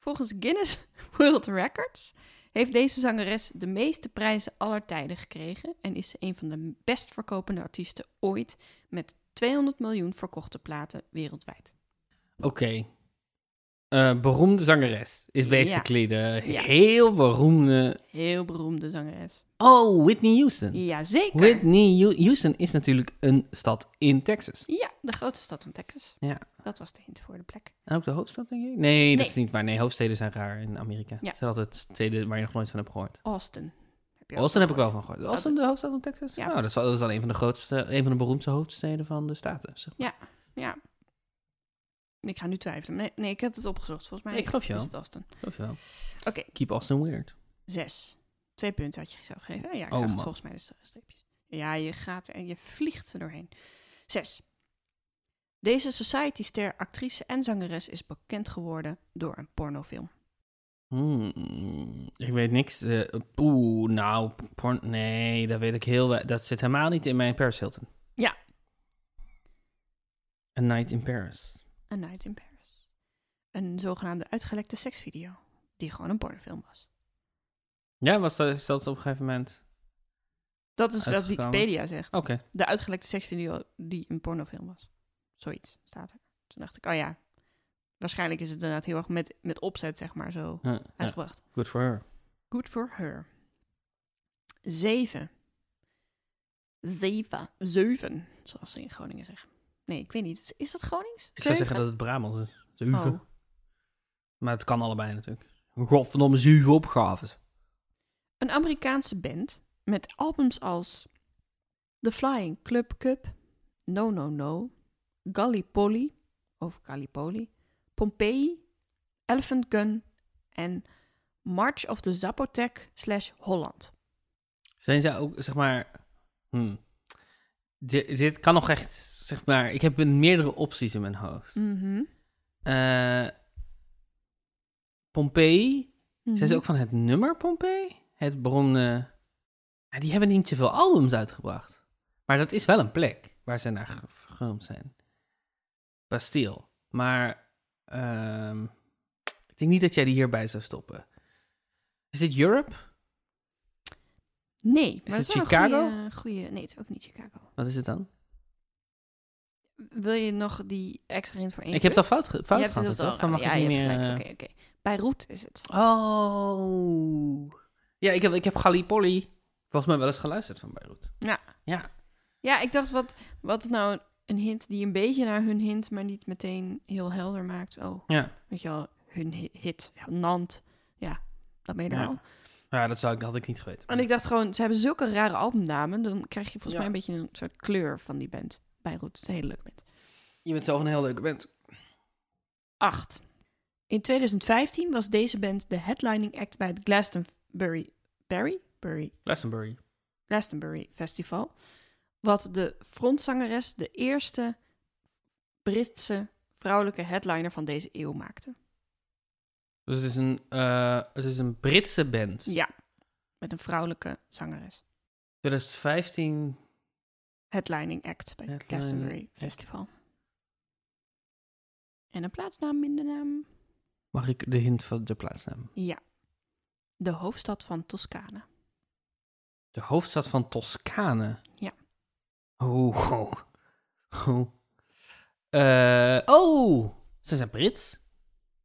B: Volgens Guinness [LAUGHS] World Records heeft deze zangeres de meeste prijzen aller tijden gekregen en is ze een van de best verkopende artiesten ooit met 200 miljoen verkochte platen wereldwijd.
A: Oké. Eh, beroemde zangeres is
B: Ja.
A: basically de
B: Ja.
A: heel beroemde...
B: Heel beroemde zangeres.
A: Oh, Whitney Houston.
B: Jazeker.
A: Whitney Hu- Houston is natuurlijk een stad in Texas.
B: Ja, de grootste stad van Texas.
A: Ja.
B: Dat was de hint voor de plek.
A: En ook de hoofdstad, denk ik? Nee, dat is niet waar. Nee, hoofdsteden zijn raar in Amerika.
B: Ja.
A: Het zijn altijd steden waar je nog nooit van hebt gehoord.
B: Austin. Heb je
A: Austin heb ik wel
B: gehoord?
A: van gehoord. Austin, de hoofdstad van Texas?
B: Ja.
A: nou, dat is, wel- dat is dan een van de grootste, een van de beroemdste hoofdsteden van de staten. Zeg.
B: Ja. Ik ga nu twijfelen. Nee, nee, ik heb het opgezocht. Volgens mij
A: Ik geloof je
B: is
A: wel.
B: het Austin.
A: Geloof je wel.
B: Oké,
A: Keep Austin weird.
B: zes. Twee punten had je jezelf gegeven. Ja, ik
A: Oh,
B: zag het
A: man.
B: volgens mij de stre- streepjes. Ja, je gaat en je vliegt er doorheen. Zes. Deze society-ster, actrice en zangeres is bekend geworden door een pornofilm.
A: Hmm, ik weet niks. eh Oeh, nou, porn, nee, dat weet ik heel we- Dat zit helemaal niet in mijn Paris Hilton.
B: Ja.
A: A Night in Paris.
B: A Night in Paris. Een zogenaamde uitgelekte seksvideo. Die gewoon een pornofilm was.
A: Ja, was dat, is dat op een gegeven moment...
B: Dat is wat
A: Uitgekomen.
B: Wikipedia zegt.
A: Oké.
B: De uitgelekte seksvideo die een pornofilm was. Zoiets staat er. Toen dacht ik, oh ja, waarschijnlijk is het inderdaad heel erg met, met opzet, zeg maar, zo
A: Ja, ja.
B: uitgebracht.
A: Good for her.
B: Good for her. Zeven. Zeven. Zeven, zoals ze in Groningen zeggen. Nee, ik weet niet. Is, is dat Gronings?
A: Ik zou
B: Zeven?
A: zeggen dat het Brabant is. Zeven.
B: Oh.
A: Maar het kan allebei natuurlijk. Godverdomme zeven opgaves.
B: Een Amerikaanse band met albums als The Flying Club Cup, No No No, Gallipoli of Gallipoli, Pompeii, Elephant Gun en March of the Zapotec slash Holland.
A: Zijn zij ook, zeg maar... hmm. Di- dit kan nog echt, zeg maar... Ik heb een meerdere opties in mijn hoofd.
B: Mhm.
A: Eh, Pompeii. Zijn
B: Mhm.
A: ze ook van het nummer Pompeii? Het beroemde... Ja, die hebben niet zoveel albums uitgebracht. Maar dat is wel een plek waar ze naar ge- vergroomd zijn. Bastille. Maar ehm, ik denk niet dat jij die hierbij zou stoppen. Is dit Europe?
B: Nee, maar
A: het
B: dat wel een
A: Chicago?
B: goeie- eh, goeie- nee, het is ook niet Chicago.
A: Wat is het dan?
B: Wil je nog die extra in voor één
A: ik heb het al
B: punt?
A: fout, ge- fout
B: Je hebt
A: gehad.
B: het al-
A: toch? Dan mag
B: ja,
A: ik
B: je
A: niet
B: hebt
A: meer...
B: gelijk.
A: eh,
B: Oké, oké. Beirut is het.
A: Oh. Ja, ik heb, ik heb Gallipoli volgens mij wel eens geluisterd van Beirut.
B: Ja.
A: Ja.
B: Ja, ik dacht, wat, wat is nou een hint die een beetje naar hun hint, maar niet meteen heel helder maakt? Oh,
A: Ja.
B: weet je wel, hun hi- hit, Nant. Ja, dat ben je er
A: Ja.
B: al.
A: Ja, dat zou ik, had ik niet geweten.
B: En ik dacht gewoon, ze hebben zulke rare albumnamen, dan krijg je volgens
A: Ja.
B: mij een beetje een soort kleur van die band. Beirut, het is een hele leuke band.
A: Je bent zelf een heel leuke band.
B: Acht. In 2015 was deze band de headlining act bij het Glastonbury... Barry? Bury?
A: Glastonbury.
B: Glastonbury Festival. Wat de frontzangeres de eerste Britse vrouwelijke headliner van deze eeuw maakte.
A: Dus het is een, eh, het is een Britse band.
B: Ja, met een vrouwelijke zangeres.
A: 2015.
B: Headlining act bij het
A: Headlining
B: Glastonbury
A: act.
B: Festival. En een plaatsnaam, minder naam.
A: Mag ik de hint van de plaatsnaam?
B: Ja. De hoofdstad van Toscane.
A: De hoofdstad van Toscane.
B: Ja.
A: Oh. [LAUGHS] Oh. Oh. Eh, oh. Ze zijn Brits.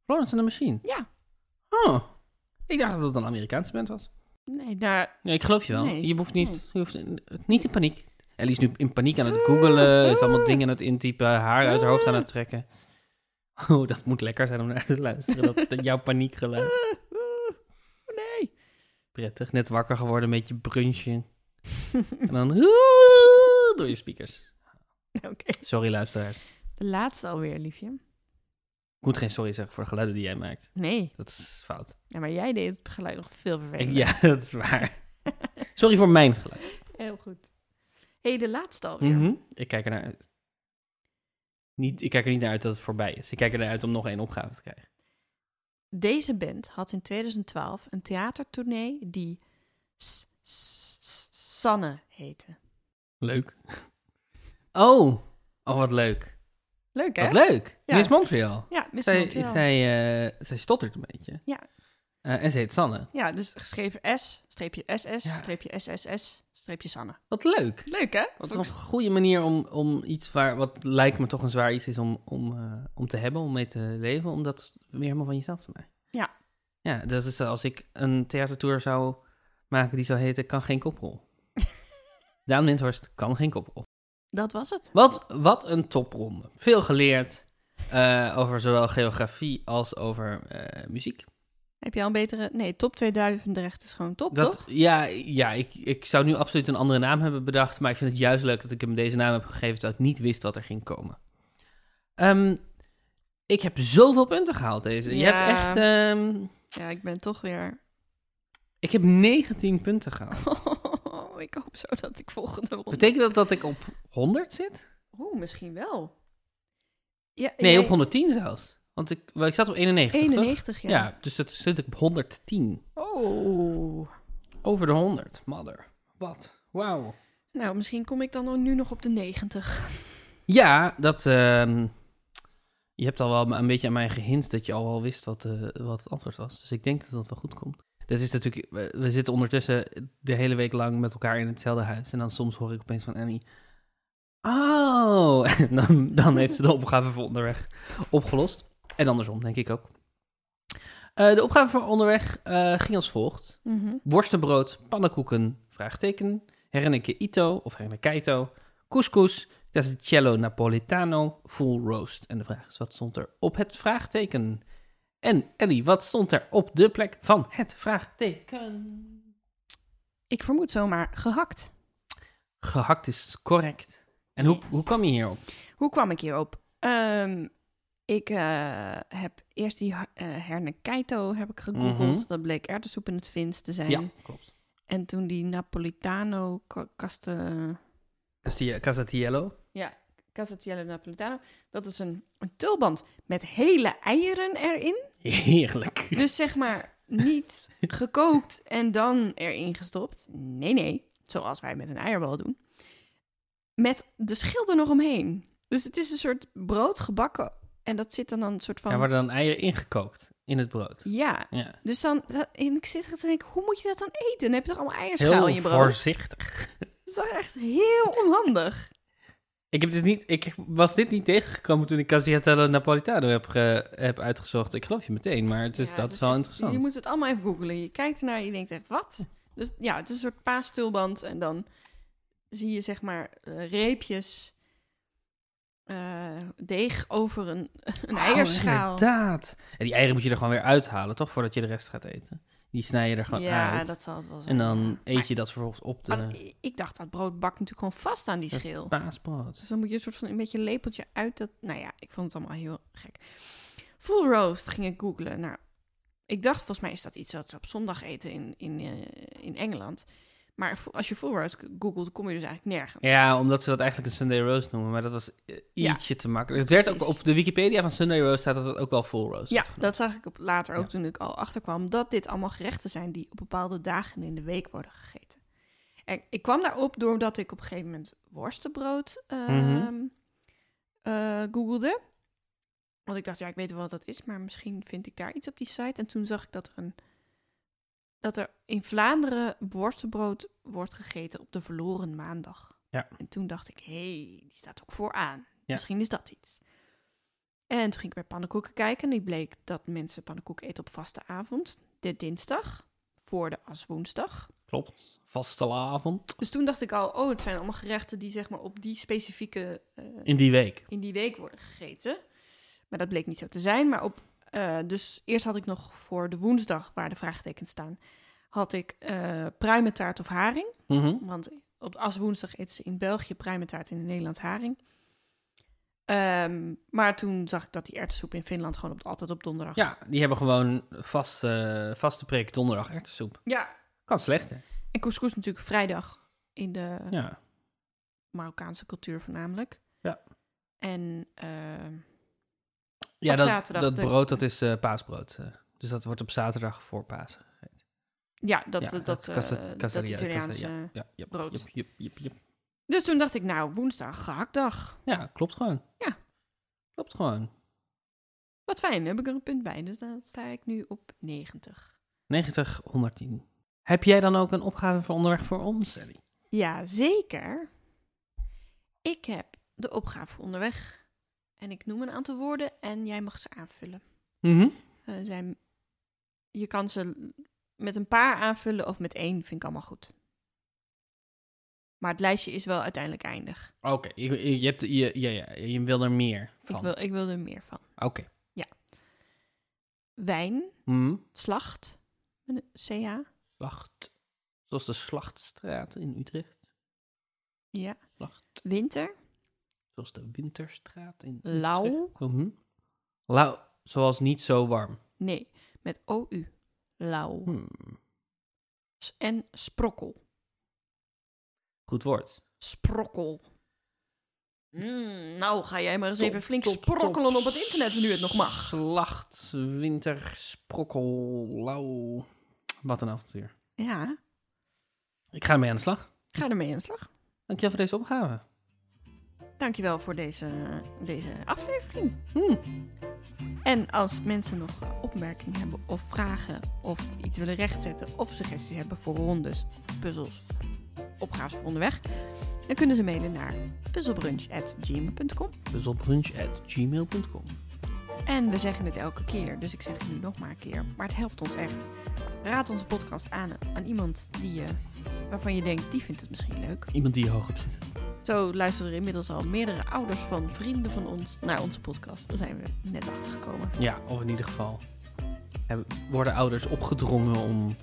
A: Florence and the Machine.
B: Ja.
A: Oh. Ik dacht dat het een Amerikaanse band was.
B: Nee, daar...
A: Nee, ik geloof je wel.
B: Nee.
A: Je hoeft niet,
B: Nee.
A: je hoeft niet in paniek. Ellie is nu in paniek aan het
B: [LAUGHS]
A: googelen, is allemaal dingen aan het intypen, haar uit haar hoofd aan het trekken. [LAUGHS] Oh, dat moet lekker zijn om naar te luisteren. Dat, dat jouw paniekgeluid.
B: Ah, Nee. [LAUGHS]
A: Prettig, net wakker geworden met je brunchje. En dan [LAUGHS] door je speakers.
B: Oké.
A: Sorry luisteraars.
B: De laatste alweer, liefje.
A: Ik moet geen sorry zeggen voor de geluiden die jij maakt.
B: Nee.
A: Dat is fout.
B: Ja, maar jij deed het geluid nog veel
A: Ik-
B: vervelender.
A: ja, dat is waar.
B: [LAUGHS]
A: Sorry voor mijn geluid.
B: Heel goed. Hé, hey, de laatste alweer.
A: Mhm. Ik kijk er naar uit. Niet, ik kijk er niet naar uit dat het voorbij is. Ik kijk er naar uit om nog één opgave te krijgen.
B: Deze band had in 2012 een theatertournee die S- S- S- Sanne heette.
A: Leuk. Oh, oh wat leuk.
B: Leuk, hè?
A: Wat leuk.
B: Ja.
A: Miss Montreal.
B: Ja, Miss
A: Zij,
B: Montreal.
A: zij, eh, zij stottert een beetje.
B: Ja.
A: Eh, en ze heet Sanne.
B: Ja, dus geschreven S, streepje SS, streepje SSS, streepje Sanne.
A: Wat leuk.
B: Leuk, hè?
A: Wat
B: Vond
A: een
B: ik-
A: goede manier om, om iets waar, wat lijkt me toch een zwaar iets is om, om, eh, om te hebben, om mee te leven, om dat weer helemaal van jezelf te maken.
B: Ja.
A: Ja, dat is eh, als ik een theatertour zou maken die zou heten Kan Geen
B: [LAUGHS]
A: Koprol. Daan Windhorst kan geen koprol.
B: Dat was het.
A: Wat, wat een topronde. Veel geleerd eh, over zowel geografie als over eh, muziek.
B: Heb je al een betere... Nee, top 2000 is gewoon top,
A: Dat,
B: toch?
A: ja, ja ik, ik zou nu absoluut een andere naam hebben bedacht. Maar ik vind het juist leuk dat ik hem deze naam heb gegeven. Terwijl ik niet wist wat er ging komen. Ehm, ik heb zoveel punten gehaald deze. Je
B: Ja.
A: hebt echt. ehm,
B: Ja, ik ben toch weer... [LAUGHS]
A: ik heb 19 punten gehaald.
B: ik hoop zo dat ik volgende ronde...
A: Betekent dat dat ik op 100 zit?
B: Oeh, misschien wel. Ja,
A: Nee,
B: jij-
A: op 110 zelfs. Want ik, wel, ik zat op 91. toch?
B: 91,
A: Ja. dus dat zit ik op 110.
B: Oh.
A: Over de 100. Mother. Wat? Wauw.
B: Nou, misschien kom ik dan ook nu nog op de 90.
A: Ja, dat. ehm, je hebt al wel een beetje aan mij gehint dat je al wel wist wat, eh, wat het antwoord was. Dus ik denk dat dat wel goed komt. dat is natuurlijk, we, we zitten ondertussen de hele week lang met elkaar in hetzelfde huis. En dan soms hoor ik opeens van Emmy. Oh, [LAUGHS] en dan, dan heeft ze de opgave voor onderweg opgelost. En andersom, denk ik ook. Eh, de opgave voor onderweg eh, ging als volgt.
B: Mhm.
A: Worstenbrood, pannenkoeken, vraagteken. Herneke Ito of Herneke Keito. Couscous, casticello napolitano, full roast. En de vraag is, wat stond er op het vraagteken? En Ellie, wat stond er op de plek van het vraagteken?
B: Ik vermoed zomaar gehakt.
A: Gehakt is correct. En hoe,
B: Yes.
A: hoe kwam je hierop?
B: Hoe kwam ik hierop? Ehm, ik eh, heb eerst die ha- eh herne keito heb ik gegoogeld.
A: Mhm.
B: Dat bleek erwtensoep in het Fins te zijn.
A: Ja, klopt.
B: En toen die Napolitano ka- kaste...
A: Dus die eh, casatiello.
B: Ja, Casatiello Napolitano. Dat is een, een tulband met hele eieren erin.
A: [LAUGHS] Heerlijk.
B: Dus zeg maar niet gekookt en dan erin gestopt. Nee, nee. Zoals wij met een eierbal doen. Met de schil er nog omheen. Dus het is een soort brood gebakken. En dat zit dan, dan een soort van...
A: Er worden dan eieren ingekookt in het brood.
B: Ja,
A: Ja.
B: dus dan... dat- en ik zit er te denken, hoe moet je dat dan eten? Dan heb je toch allemaal eierschaal in je
A: Heel
B: brood?
A: voorzichtig.
B: Dat is toch echt heel onhandig.
A: Ik, heb dit niet, ik was dit niet tegengekomen toen ik Casiatello Napolitano heb, ge- heb uitgezocht. Ik geloof je meteen, maar het is,
B: Ja,
A: dat
B: het
A: is
B: is
A: wel
B: Je
A: interessant.
B: moet het allemaal even googlen. Je kijkt ernaar en je denkt echt, wat? Dus ja, het is een soort paastulband. En dan zie je zeg maar eh, reepjes eh, deeg over een, [LAUGHS] een
A: Oh,
B: eierschaal.
A: Inderdaad. En die eieren moet je er gewoon weer uithalen, toch? Voordat je de rest gaat eten. Die snij je er gewoon
B: ja,
A: uit.
B: dat zal het wel zijn.
A: En dan
B: Maar-
A: eet je eh, dat vervolgens op de
B: maar ik- ik dacht, dat brood bakt natuurlijk gewoon vast aan die schil.
A: paasbrood.
B: Dus dan moet je een soort van een beetje een lepeltje uit dat... Nou ja, ik vond het allemaal heel gek. Full roast ging ik googlen. Nou, ik dacht volgens mij is dat iets wat ze op zondag eten in, in, eh, in Engeland. Maar vo- als je full roast googelt, kom je dus eigenlijk nergens.
A: Ja, omdat ze dat eigenlijk een Sunday roast noemen, maar dat was eh,
B: Ja.
A: ietsje te makkelijk. Het werd ook
B: Precies.
A: op de Wikipedia van Sunday roast staat dat het ook wel full roast.
B: Ja,
A: wordt genoemd.
B: dat zag ik op later ook
A: Ja.
B: toen ik al achterkwam. Dat dit allemaal gerechten zijn die op bepaalde dagen in de week worden gegeten. En ik kwam daarop doordat ik op een gegeven moment worstenbrood ehm,
A: Mhm.
B: eh, googelde. Want ik dacht, ja, ik weet wel wat dat is, maar misschien vind ik daar iets op die site. En toen zag ik dat er, een, dat er in Vlaanderen worstenbrood wordt gegeten op de verloren maandag.
A: Ja.
B: En toen dacht ik, hé, hey, die staat ook vooraan.
A: Ja.
B: Misschien is dat iets. En toen ging ik bij pannenkoeken kijken. En die bleek dat mensen pannenkoeken eten op vaste avond. De dinsdag, voor de as woensdag.
A: Klopt. Vaste avond.
B: Dus toen dacht ik al, oh, het zijn allemaal gerechten die zeg maar op die specifieke, eh,
A: In die week.
B: in die week worden gegeten. Maar dat bleek niet zo te zijn. Maar op, eh, dus eerst had ik nog voor de woensdag, waar de vraagtekens staan, had ik eh pruimentaart of haring.
A: Mhm.
B: Want op as woensdag eten ze in België pruimentaart en in Nederland haring. Ehm, maar toen zag ik dat die erwtensoep in Finland gewoon op, altijd op donderdag.
A: Ja, die hebben gewoon vaste, vaste preek donderdag erwtensoep.
B: Ja.
A: Kan slechter.
B: En couscous natuurlijk vrijdag in de
A: Ja.
B: Marokkaanse cultuur voornamelijk.
A: Ja.
B: En ehm,
A: Ja,
B: Op
A: dat,
B: zaterdag
A: dat
B: de-
A: brood dat is eh, paasbrood. eh. dus dat wordt op zaterdag voor Pasen.
B: ja, dat,
A: Ja,
B: dat, dat, eh,
A: casa-
B: dat
A: casaria-
B: Italiaanse.
A: casa- ja, ja, jep,
B: brood.
A: jep, jep, jep, jep.
B: Dus toen dacht ik, nou, woensdag, gehaktdag.
A: Ja, klopt gewoon.
B: Ja.
A: Klopt gewoon.
B: Wat fijn, heb ik er een punt bij. Dus dan sta ik nu op 90.
A: 90, 110. Heb jij dan ook een opgave voor onderweg voor ons, Ellie?
B: Ja, zeker. Ik heb de opgave voor onderweg. En ik noem een aantal woorden en jij mag ze aanvullen.
A: Mhm.
B: Eh, zijn, je kan ze met een paar aanvullen of met één, vind ik allemaal goed. Maar het lijstje is wel uiteindelijk eindig.
A: Oké, ik- ik- je, hebt- je, ja, ja, je wil er meer
B: Ik
A: van.
B: wil, ik wil er meer van.
A: Oké.
B: Wijn,
A: Hm,
B: slacht, met een CH.
A: Slacht. Zoals de Slachtstraat in Utrecht.
B: Ja.
A: Slacht.
B: Winter,
A: Zoals de Winterstraat in Utrecht.
B: lauw.
A: Mhm. Lauw. Zoals niet zo warm.
B: Nee, met OU. Lauw.
A: Hmm.
B: S- En sprokkel.
A: Goed woord.
B: Sprokkel. Mm, nou, ga jij maar eens
A: Top,
B: even flink
A: top,
B: sprokkelen
A: top.
B: op het internet nu het nog mag.
A: Slacht, winter, sprokkel, lauw. Wat een avontuur.
B: Ja,
A: Ik ga ermee aan de slag.
B: ga ermee aan de slag.
A: Dankjewel voor deze opgave.
B: Hmm. Dankjewel voor deze, deze aflevering.
A: Hm.
B: En als mensen nog eh, opmerkingen hebben of vragen of iets willen rechtzetten of suggesties hebben voor rondes of puzzels, opgaves voor onderweg, dan kunnen ze mailen naar puzzelbrunch.gmail.com.
A: Dus op hunch@gmail.com.
B: En we zeggen het elke keer, dus ik zeg het nu nog maar een keer. Maar het helpt ons echt. Raad onze podcast aan aan iemand die je, waarvan je denkt, die vindt het misschien leuk.
A: Iemand die je hoog op zit.
B: Zo luisteren er inmiddels al meerdere ouders van vrienden van ons naar onze podcast. Daar zijn we net achter gekomen.
A: Ja, of in ieder geval hebben- worden ouders opgedrongen om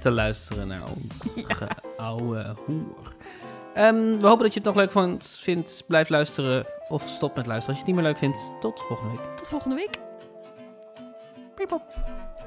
A: te luisteren naar
B: [LAUGHS]
A: ons oude hoer. Ehm, we hopen dat je het nog leuk vond- vindt. Blijf luisteren of stop met luisteren als je het niet meer leuk vindt. Tot volgende week.
B: Tot volgende week.
A: Piep, pop.